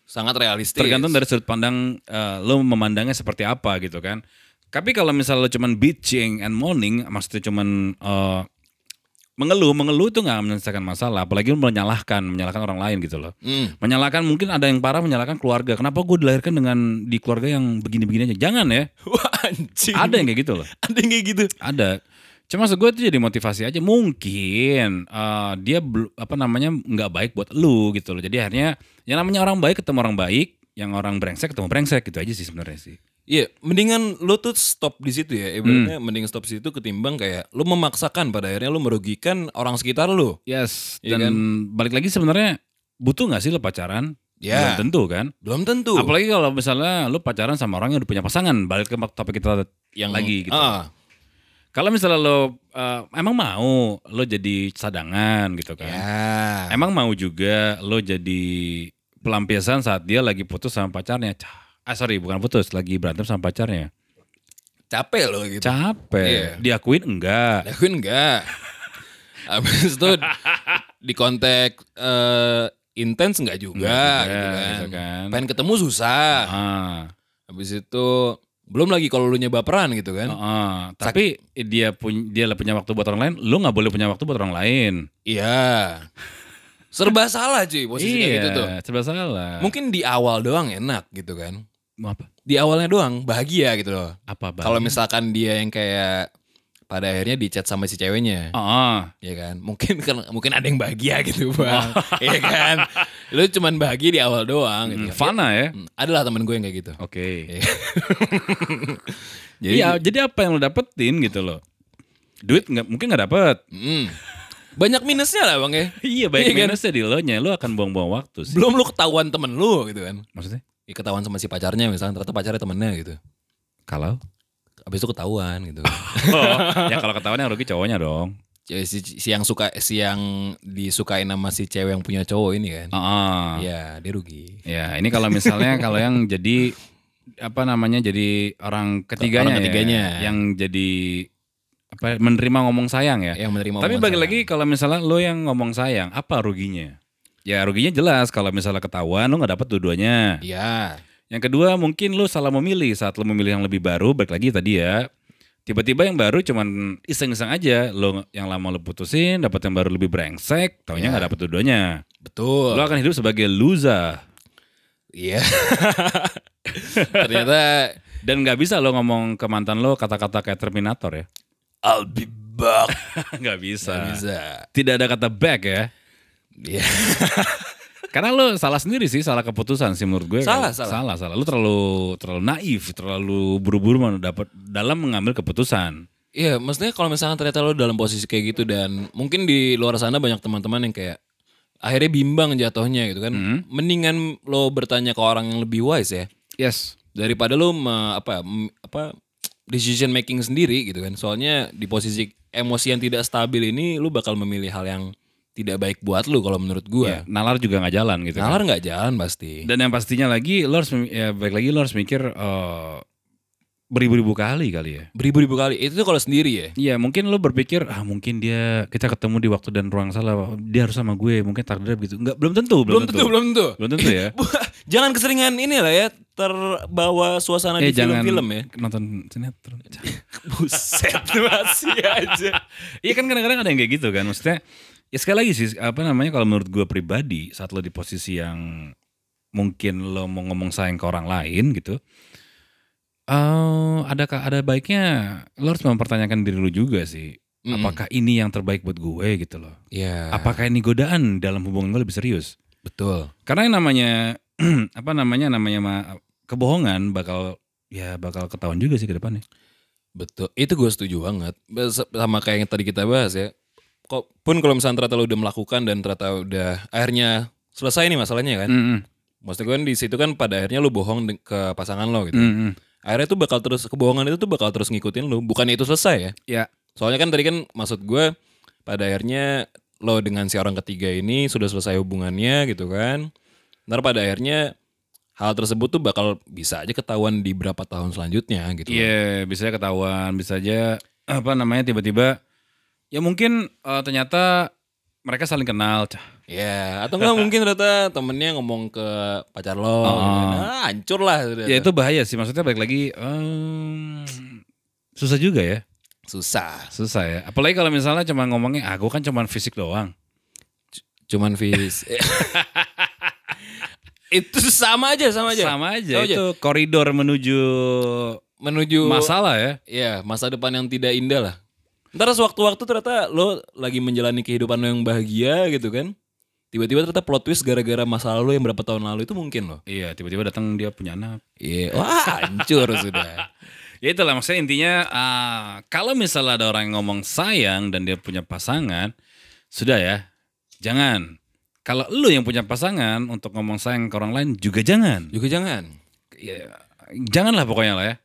B: Sangat realistis.
A: tergantung dari sudut pandang eh, lo memandangnya seperti apa gitu kan tapi kalau misalnya lo cuman bitching and moaning maksudnya cuman eh, mengeluh mengeluh itu nggak menyelesaikan masalah apalagi lo menyalahkan menyalahkan orang lain gitu loh
B: Mm.
A: menyalahkan mungkin ada yang parah menyalahkan keluarga kenapa gue dilahirkan dengan di keluarga yang begini-begini aja jangan ya
B: Wah anjing.
A: ada yang kayak gitu loh
B: ada yang kayak gitu.
A: Ada. Cuma maksud gue itu jadi motivasi aja. Mungkin eh, dia bel- apa namanya nggak baik buat lu gitu loh. Jadi akhirnya yang namanya orang baik ketemu orang baik, yang orang brengsek ketemu brengsek gitu aja sih sebenarnya sih.
B: Iya, mendingan lo tuh stop di situ ya. Ibaratnya
A: Hmm.
B: mending stop di situ ketimbang kayak lo memaksakan pada akhirnya lo merugikan orang sekitar lo.
A: Yes.
B: Iya
A: Dan
B: kan?
A: balik lagi sebenarnya butuh nggak sih lo pacaran?
B: Ya.
A: Belum tentu kan.
B: Belum tentu.
A: Apalagi kalau misalnya lo pacaran sama orang yang udah punya pasangan. Balik ke topik kita yang lagi gitu.
B: Ah,
A: Kalau misalnya lo eh, emang mau lo jadi cadangan gitu kan.
B: ya.
A: Emang mau juga lo jadi pelampiasan saat dia lagi putus sama pacarnya? Cah, Ah sorry bukan putus, lagi berantem sama pacarnya.
B: Capek lo gitu.
A: Capek, diakuin enggak?
B: Lakuin enggak. Habis itu di kontak eh, intens enggak juga
A: Enggak juga,
B: gitu kan.
A: gitu kan.
B: Pengen ketemu susah.
A: Ah,
B: Habis itu belum lagi kalau lu baperan gitu kan.
A: ah. Tapi dia punya dia punya waktu buat orang lain, lo nggak boleh punya waktu buat orang lain.
B: Iya. Serba salah cuy posisi
A: Iya.
B: kayak gitu tuh.
A: serba salah.
B: Kan? Mungkin di awal doang enak gitu kan.
A: Mau apa?
B: Di awalnya doang bahagia gitu loh.
A: Apa Bang?
B: Kalau misalkan dia yang kayak pada akhirnya dicat sama si ceweknya.
A: Ah, ah.
B: ya kan mungkin kan mungkin ada yang bahagia gitu bang ya kan lu cuman bahagia di awal doang
A: Hmm,
B: gitu kan.
A: fana ya.
B: Hmm, adalah temen gue yang kayak gitu
A: Oke.
B: jadi
A: Iya, jadi apa yang lo dapetin gitu loh? Duit nggak mungkin nggak dapet.
B: mm, banyak minusnya lah bang ya
A: Iya baik
B: Iya kan?
A: minusnya di lo nya lo akan buang-buang waktu sih.
B: belum lu ketahuan temen lu gitu kan
A: Maksudnya?
B: Ya, ketahuan sama si pacarnya misalnya ternyata pacarnya temennya gitu
A: Kalau?
B: abis itu ketahuan gitu
A: ya kalau ketahuan yang rugi cowoknya dong.
B: Jadi si, si yang suka si yang disukain sama si cewek yang punya cowok ini kan
A: Ah, ah.
B: ya dia rugi
A: Ya ini kalau misalnya kalau yang jadi apa namanya jadi orang ketiganya,
B: Orang ketiganya.
A: ya, yang jadi apa menerima ngomong sayang ya.
B: yang menerima
A: Tapi
B: omongan
A: bagi
B: saya.
A: lagi kalau misalnya lo yang ngomong sayang, apa ruginya? Ya ruginya jelas kalau misalnya ketahuan lo nggak dapat dua-duanya.
B: Iya.
A: Yang kedua mungkin lo salah memilih saat lo memilih yang lebih baru, balik lagi tadi ya. Tiba-tiba yang baru cuman iseng-iseng aja, lo yang lama lo putusin, dapat yang baru lebih brengsek, taunya
B: Iya.
A: nggak dapat dua-duanya.
B: Betul.
A: Lo akan hidup sebagai loser
B: Iya. Ternyata
A: dan nggak bisa lo ngomong ke mantan lo kata-kata kayak Terminator ya.
B: I'll be back.
A: Nggak bisa.
B: Nggak bisa.
A: Tidak ada kata back ya.
B: Iya.
A: Karena lo salah sendiri sih, salah keputusan sih menurut gue.
B: Salah,
A: Kan?
B: salah.
A: Salah, salah. Lo terlalu terlalu naif, terlalu buru-buru men- dapat dalam mengambil keputusan.
B: Iya, maksudnya kalau misalkan ternyata lo dalam posisi kayak gitu dan mungkin di luar sana banyak teman-teman yang kayak akhirnya bimbang jatuhnya gitu kan. Mendingan lo bertanya ke orang yang lebih wise ya
A: Yes.
B: daripada lo me- apa m- apa decision making sendiri gitu kan. Soalnya di posisi emosi yang tidak stabil ini lo bakal memilih hal yang tidak baik buat lo kalau menurut gua.
A: Ya, Nalar juga nggak jalan gitu. kan.
B: Nalar nggak jalan pasti.
A: Dan yang pastinya lagi lo harus mem- ya baik lagi lo harus mikir eh, beribu-ribu kali kali ya.
B: Beribu-ribu kali. Itu tuh kalau sendiri ya.
A: Iya mungkin lo berpikir ah mungkin dia kita ketemu di waktu dan ruang salah dia harus sama gue mungkin takdir gitu nggak belum tentu
B: Belum tentu, belum tentu.
A: belum tentu ya
B: jangan keseringan ini lah ya terbawa suasana
A: eh
B: di film-film ya.
A: nonton sinetron
B: Buset masih aja.
A: Iya kan kadang-kadang ada yang kayak gitu kan maksudnya ya sekali lagi sih apa namanya kalau menurut gue pribadi saat lo di posisi yang mungkin lo mau ngomong sayang ke orang lain gitu eh ada ka- ada baiknya lo harus mempertanyakan diri lo juga sih
B: Hmm.
A: apakah ini yang terbaik buat gue gitu loh
B: Iya.
A: apakah ini godaan dalam hubungan gue lebih serius
B: Betul.
A: karena yang namanya apa namanya namanya ma- kebohongan bakal ya bakal ketahuan juga sih ke depannya
B: Betul. Itu gue setuju banget. Bes- Sama kayak yang tadi kita bahas ya. Kok pun kalau misalnya ternyata lo udah melakukan dan ternyata udah akhirnya selesai nih masalahnya kan.
A: Mm-mm,
B: Maksudnya kan di situ kan pada akhirnya lo bohong de- ke pasangan lo gitu.
A: mm-mm.
B: Akhirnya tuh bakal terus kebohongan itu tuh bakal terus ngikutin lo. Bukannya itu selesai ya.
A: ya
B: Soalnya kan tadi kan maksud gue pada akhirnya lo dengan si orang ketiga ini sudah selesai hubungannya gitu kan. Ntar pada akhirnya hal tersebut tuh bakal bisa aja ketahuan di berapa tahun selanjutnya gitu.
A: Iya, bisa aja ketahuan, bisa aja apa namanya tiba-tiba ya mungkin eh, ternyata mereka saling kenal. Cah.
B: Ya, atau enggak mungkin ternyata temennya ngomong ke pacar lo, gitu kan. ah, hancur lah. ternyata.
A: Ya itu bahaya sih, maksudnya balik lagi em, susah juga ya,
B: susah.
A: susah ya. Apalagi kalau misalnya cuma ngomongnya, ah gue kan cuma fisik doang.
B: Cuman Fis. itu sama aja, sama aja.
A: Sama aja, itu koridor menuju
B: Menuju
A: masalah ya.
B: Iya, masa depan yang tidak indah lah. Ntar sewaktu-waktu ternyata lo lagi menjalani kehidupan lo yang bahagia gitu kan. Tiba-tiba ternyata plot twist gara-gara masa lalu yang berapa tahun lalu itu mungkin loh.
A: Iya, tiba-tiba datang dia punya anak.
B: Iya, wah hancur sudah.
A: Ya itulah maksudnya intinya ah, kalau misalnya ada orang yang ngomong sayang dan dia punya pasangan, sudah ya, jangan. Kalau lu yang punya pasangan untuk ngomong sayang ke orang lain juga jangan.
B: Juga jangan.
A: Ya, janganlah pokoknya lah ya.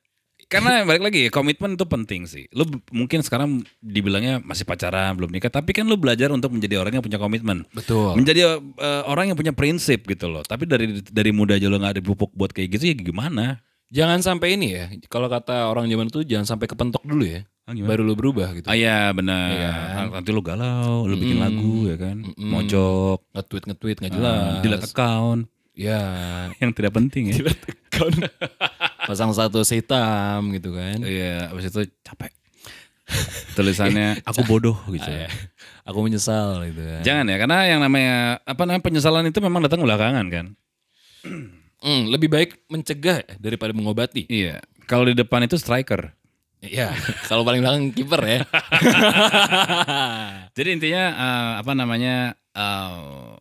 A: Karena balik lagi komitmen itu penting sih. Lu b- mungkin sekarang dibilangnya masih pacaran, belum nikah, tapi kan lu belajar untuk menjadi orang yang punya komitmen.
B: Betul.
A: Menjadi eh, orang yang punya prinsip gitu loh. Tapi dari dari muda aja lu nggak dipupuk buat kayak gitu ya gimana?
B: Jangan sampai ini ya. Kalau kata orang zaman itu jangan sampai kepentok dulu ya.
A: Ah, gimana?
B: Baru lo berubah gitu.
A: Ah iya benar. Nanti lu galau, lu bikin lagu ya kan, mojok,
B: Nge-tweet nge-tweet nggak
A: ah,
B: jelas.
A: delete account
B: Ya.
A: yang tidak penting ya.
B: Pasang status hitam gitu kan.
A: Iya, abis itu capek. Tulisannya aku bodoh gitu. ya.
B: Aku menyesal gitu kan.
A: Jangan ya, karena yang namanya apa namanya penyesalan itu memang datang belakangan kan.
B: Hmm, lebih baik mencegah daripada mengobati.
A: Iya. Kalau di depan itu striker.
B: Iya, kalau paling belakang kiper ya.
A: Jadi intinya eh, apa namanya eh,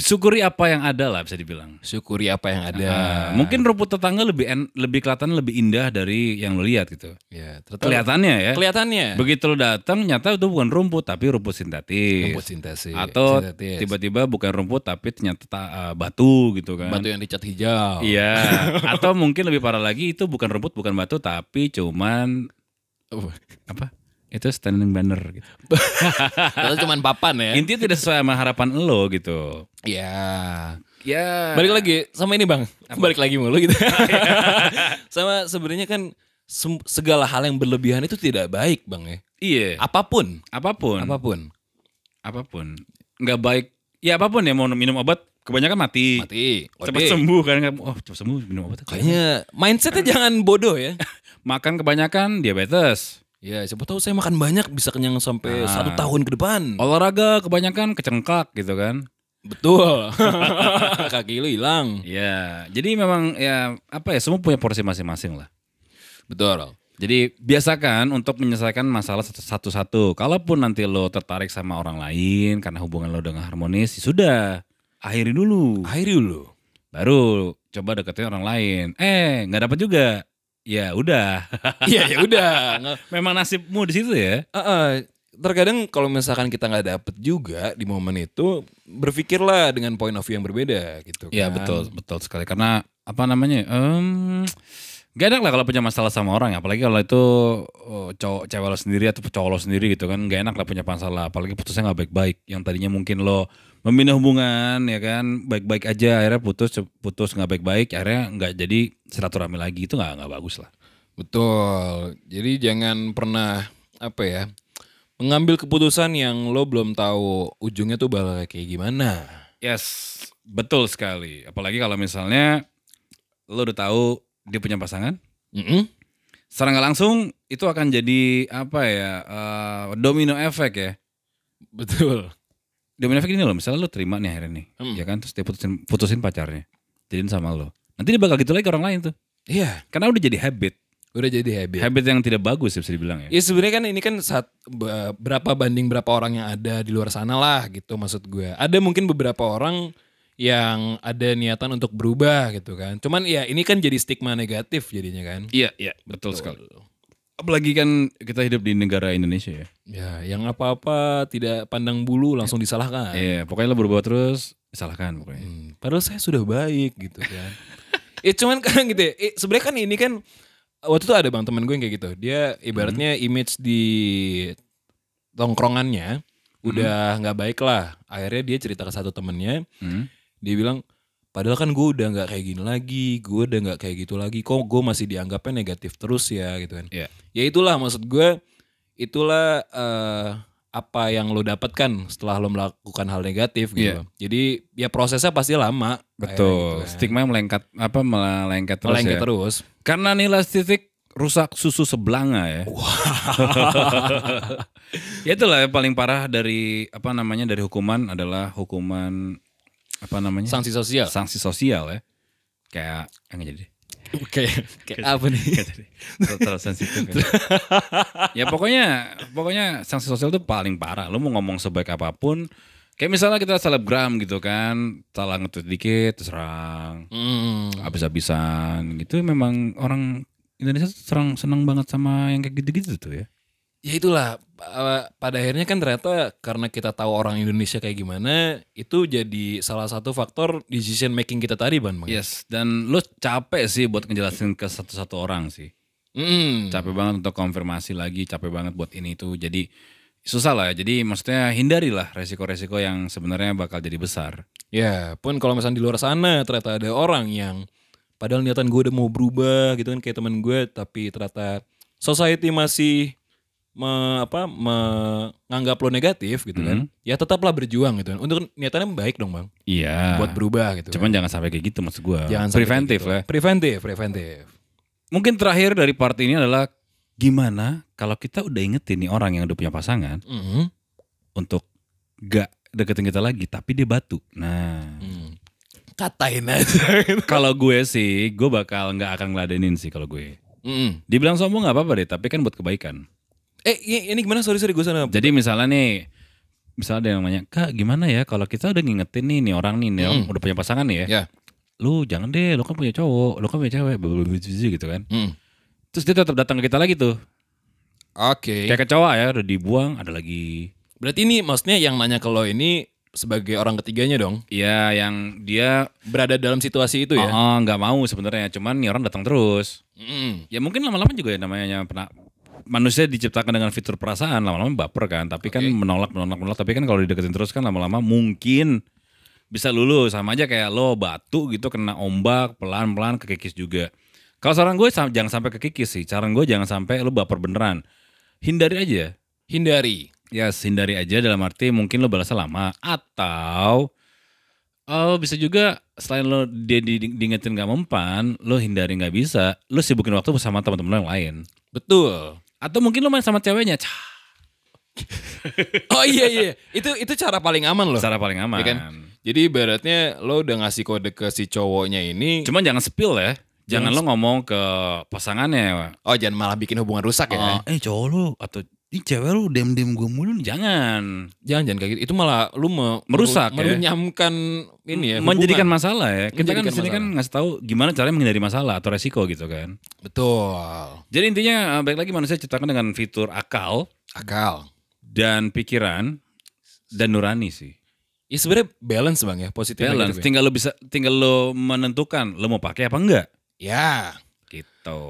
A: syukuri apa yang ada lah bisa dibilang.
B: Syukuri apa yang ada.
A: Eh, mungkin rumput tetangga lebih en- lebih kelihatan lebih indah dari yang lu lihat gitu.
B: ya, ternyata-
A: Kelihatannya ya.
B: kelihatannya.
A: Begitu lo datang, nyata itu bukan rumput tapi rumput sintetis.
B: Rumput sintesis.
A: Atau
B: sintetis.
A: tiba-tiba bukan rumput tapi ternyata ta- eh, batu gitu kan.
B: batu yang dicat hijau.
A: Iya. Atau mungkin lebih parah lagi itu bukan rumput, bukan batu tapi cuman apa? Itu standing banner gitu.
B: Atau cuman papan ya.
A: Intinya tidak sesuai sama harapan lo gitu.
B: Iya.
A: Ya.
B: Balik lagi sama ini bang, balik lagi mulu gitu. sama sebenarnya kan sem- segala hal yang berlebihan itu tidak baik bang ya.
A: Iya.
B: Apapun, Hmm.
A: Apapun.
B: apapun,
A: apapun. Nggak baik. Ya apapun ya mau minum obat kebanyakan mati.
B: mati.
A: Cepat
B: Ode.
A: sembuh kan. Oh cepat sembuh minum obat.
B: Kayaknya mindsetnya jangan bodoh ya.
A: Makan kebanyakan diabetes.
B: Ya siapa tahu saya makan banyak bisa kenyang sampai satu tahun ke depan.
A: Olahraga kebanyakan kecengkak gitu kan.
B: Betul. Kaki lu hilang.
A: Ya, jadi memang ya apa ya semua punya porsi masing-masing lah.
B: Betul.
A: Jadi biasakan untuk menyelesaikan masalah satu- satu-satu. Kalaupun nanti lo tertarik sama orang lain karena hubungan lo dengan harmonis, ya sudah akhiri dulu.
B: Akhir dulu.
A: Baru coba deketin orang lain. Eh, nggak dapat juga. Ya udah.
B: Iya ya udah. Nge-
A: memang nasibmu di situ ya.
B: Eh, eh, terkadang kalau misalkan kita nggak dapet juga di momen itu berpikirlah dengan point of view yang berbeda gitu.
A: Iya
B: kan.
A: betul, betul sekali. Karena apa namanya? em gak enak lah kalau punya masalah sama orang, ya. apalagi kalau itu oh, cowok cewek lo sendiri atau cowok lo sendiri gitu kan, gak enak lah punya masalah. Apalagi putusnya nggak baik-baik. Yang tadinya mungkin lo membina hubungan ya kan baik-baik aja akhirnya putus putus nggak baik-baik akhirnya nggak jadi silaturahmi lagi itu nggak nggak bagus lah
B: Betul. Jadi jangan pernah apa ya mengambil keputusan yang lo belum tahu ujungnya tuh bakal kayak gimana.
A: yes betul sekali apalagi kalau misalnya lo udah tahu dia punya pasangan
B: Mm-mm.
A: secara nggak langsung itu akan jadi apa ya eh, domino efek ya
B: Betul.
A: domino efek ini loh misalnya lo terima nih akhirnya nih
B: Hmm.
A: ya kan terus dia putusin putusin pacarnya jadiin sama lo nanti dia bakal gitu lagi ke orang lain tuh
B: Iya,
A: karena udah jadi habit
B: udah jadi habit.
A: habit yang tidak bagus ya bisa dibilang ya
B: Ya sebenarnya kan ini kan saat be- berapa banding berapa orang yang ada di luar sana lah gitu maksud gue. Ada mungkin beberapa orang yang ada niatan untuk berubah gitu kan. Cuman ya ini kan jadi stigma negatif jadinya kan.
A: iya iya betul, sekali apalagi kan kita hidup di negara Indonesia ya
B: Ya, yang apa-apa tidak pandang bulu langsung disalahkan.
A: Iya, pokoknya lo berubah terus salahkan pokoknya
B: Hmm, Padahal saya sudah baik gitu kan. ya cuman kan gitu ya. eh, Sebenarnya kan ini kan waktu itu ada bang teman gue yang kayak gitu. Dia ibaratnya image di tongkrongannya udah nggak baik lah. Akhirnya dia cerita ke satu temennya.
A: Hmm.
B: Dia bilang padahal kan gue udah nggak kayak gini lagi. Gue udah nggak kayak gitu lagi. Kok gue masih dianggapnya negatif terus ya gitu kan.
A: Iya.
B: Ya itulah maksud gue. Itulah eh, apa yang lo dapatkan setelah lo melakukan hal negatif
A: Iya.
B: gitu. loh. Jadi ya prosesnya pasti lama.
A: betul stigma melengkat apa melengkat terus
B: Melengket
A: ya
B: terus.
A: karena nilai titik rusak susu sebelanga ya ya itulah yang paling parah dari apa namanya dari hukuman adalah hukuman apa namanya
B: Sanksi sosial.
A: sanksi sosial ya kayak eh, nggak jadi deh.
B: Kayak kayak apa nih?
A: Nggak jadi. Terlalu- terlalu sensitif ya. ya pokoknya pokoknya sanksi sosial itu paling parah lo mau ngomong sebaik apapun kayak misalnya kita selebgram gitu kan salah ngetweet dikit terserang
B: Hmm.
A: habis-habisan gitu memang orang Indonesia tuh serang senang banget sama yang kayak gitu-gitu tuh ya
B: Ya itulah eh, pada akhirnya kan ternyata karena kita tahu orang Indonesia kayak gimana, itu jadi salah satu faktor decision making kita tadi, Bang.
A: Yes, dan lu capek sih buat ngejelasin ke satu-satu orang sih.
B: Mm.
A: Capek banget untuk konfirmasi lagi, capek banget buat ini itu. Jadi susah lah. ya. Jadi maksudnya hindarilah resiko-resiko yang sebenarnya bakal jadi besar.
B: Ya, pun kalau misalnya di luar sana ternyata ada orang yang padahal niatan gue udah mau berubah gitu kan kayak teman gue, tapi ternyata society masih me- apa menganggap lo negatif gitu kan.
A: Hmm.
B: Ya tetaplah berjuang gitu kan. Untuk niatannya baik dong, Bang.
A: Iya.
B: Buat berubah gitu.
A: Cuman jangan sampai kayak gitu maksud gua.
B: Jangan sampai
A: preventif
B: kayak
A: lah.
B: gitu. Preventif, preventif.
A: Mungkin terakhir dari part ini adalah gimana kalau kita udah ingetin nih orang yang udah punya pasangan
B: Mm-hmm.
A: untuk gak deketin kita lagi tapi dia batu. Nah,
B: Mm-hmm. Katain aja.
A: kalau gue sih gue bakal nggak akan ngeladenin sih kalau gue.
B: Mm-mm.
A: Dibilang sombong nggak apa-apa deh, tapi kan buat kebaikan.
B: Mm-hmm. Eh, i- ini gimana? Sorry, sorry gue sana.
A: Jadi misalnya nih, misalnya ada yang nanya, kak gimana ya kalau kita udah ngingetin nih, nih orang nih, nih orang udah punya pasangan nih ya,
B: Ya.
A: lu jangan deh, lu kan punya cowok, lu kan punya cewek, blablabla gitu kan.
B: Mm.
A: Terus dia tetap datang ke kita lagi tuh,
B: Oke.
A: kayak kecewa ya, udah dibuang, ada lagi.
B: Berarti ini maksudnya yang nanya ke lo ini sebagai orang ketiganya dong.
A: Ya yang dia
B: Berada dalam situasi itu
A: oh,
B: ya.
A: oh, nggak mau sebenarnya, cuman nih orang datang terus.
B: Mm.
A: Ya mungkin lama-lama juga ya namanya pernah manusia diciptakan dengan fitur perasaan lama-lama baper kan tapi kan menolak menolak menolak tapi kan kalau dideketin terus kan lama-lama mungkin bisa lulus sama aja kayak lo batu gitu kena ombak pelan-pelan kekikis juga. Kalau saran gue sam- jangan sampai kekikis sih. Saran gue jangan sampai lo baper beneran. Hindari aja.
B: Hindari.
A: Ya hindari aja dalam arti mungkin lo balasnya lama atau eh, bisa juga selain lo dia di- di- diingetin gak mempan, lo hindari nggak bisa, lo sibukin waktu sama teman-teman lo yang lain.
B: Betul.
A: Atau mungkin lo main sama ceweknya, cah,
B: Oh iya iya. Itu itu cara paling aman loh.
A: cara paling aman.
B: Iya kan? Jadi ibaratnya lo udah ngasih kode ke si cowoknya ini.
A: Cuman jangan spill ya. Jangan
B: Jangan
A: lo ngomong ke pasangannya.
B: Oh jangan malah bikin hubungan rusak ya.
A: eh cowok lo atau ih cewek lo dem-dem gue mulu nih." Jangan.
B: Jangan jangan kayak gitu. Itu malah lu me-
A: Merusak ya.
B: merunyamkan ini ya. hubungan.
A: Menjadikan masalah ya. Kita kan
B: Menjadikan
A: di sini kan
B: masalah.
A: ngasih tahu gimana caranya menghindari masalah atau resiko gitu kan.
B: betul
A: Jadi intinya eh, balik lagi manusia ciptakan dengan fitur akal
B: akal.
A: dan pikiran dan nurani sih.
B: Ya sebenarnya balance bang ya positif
A: Balance.
B: negatif ya.
A: Tinggal lo bisa tinggal lo menentukan lo mau pakai apa enggak
B: Ya
A: gitu.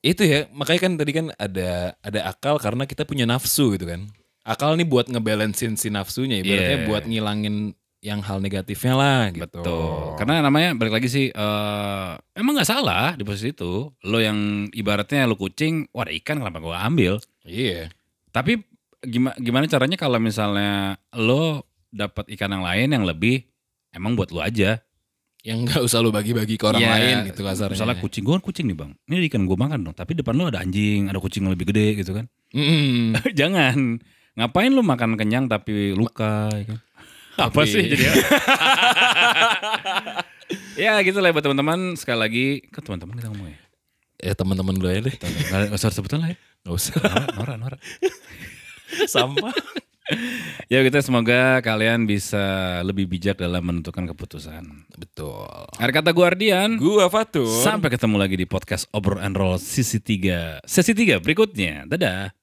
B: itu ya makanya kan tadi kan ada ada akal karena kita punya nafsu gitu kan. Akal nih buat ngebalancein si nafsunya ibaratnya
A: Yeah.
B: buat ngilangin yang hal negatifnya lah gitu.
A: Betul. Karena namanya balik lagi sih eh, emang nggak salah di posisi itu. Lo yang ibaratnya lo kucing, wah ada ikan kenapa gua ambil?
B: Iya.
A: Tapi gimana gimana caranya kalau misalnya lo dapat ikan yang lain yang lebih emang buat lo aja.
B: Yang nggak usah lu bagi-bagi ke orang
A: Ya,
B: lain gitu kasarnya.
A: Misalnya kucing gua kan kucing nih, Bang. Ini ada ikan gua makan dong, tapi depan lo ada anjing, ada kucing yang lebih gede gitu kan.
B: Mm-mm.
A: Jangan. Ngapain lo makan kenyang tapi luka ya kan? Apa
B: Tapi-
A: sih jadi Ya gitu lah buat teman-teman sekali lagi ke teman-teman kita ngomong ya.
B: Ya teman-teman dulu aja deh.
A: Nggak usah sebutan lah ya.
B: Gak usah.
A: Nora, Nora.
B: Sampah.
A: Ya kita semoga kalian bisa lebih bijak dalam menentukan keputusan.
B: Betul.
A: Ada kata Guardian.
B: Gua Fatur.
A: Sampai ketemu lagi di podcast Obrol and Roll sisi 3. Sesi 3 berikutnya. Dadah.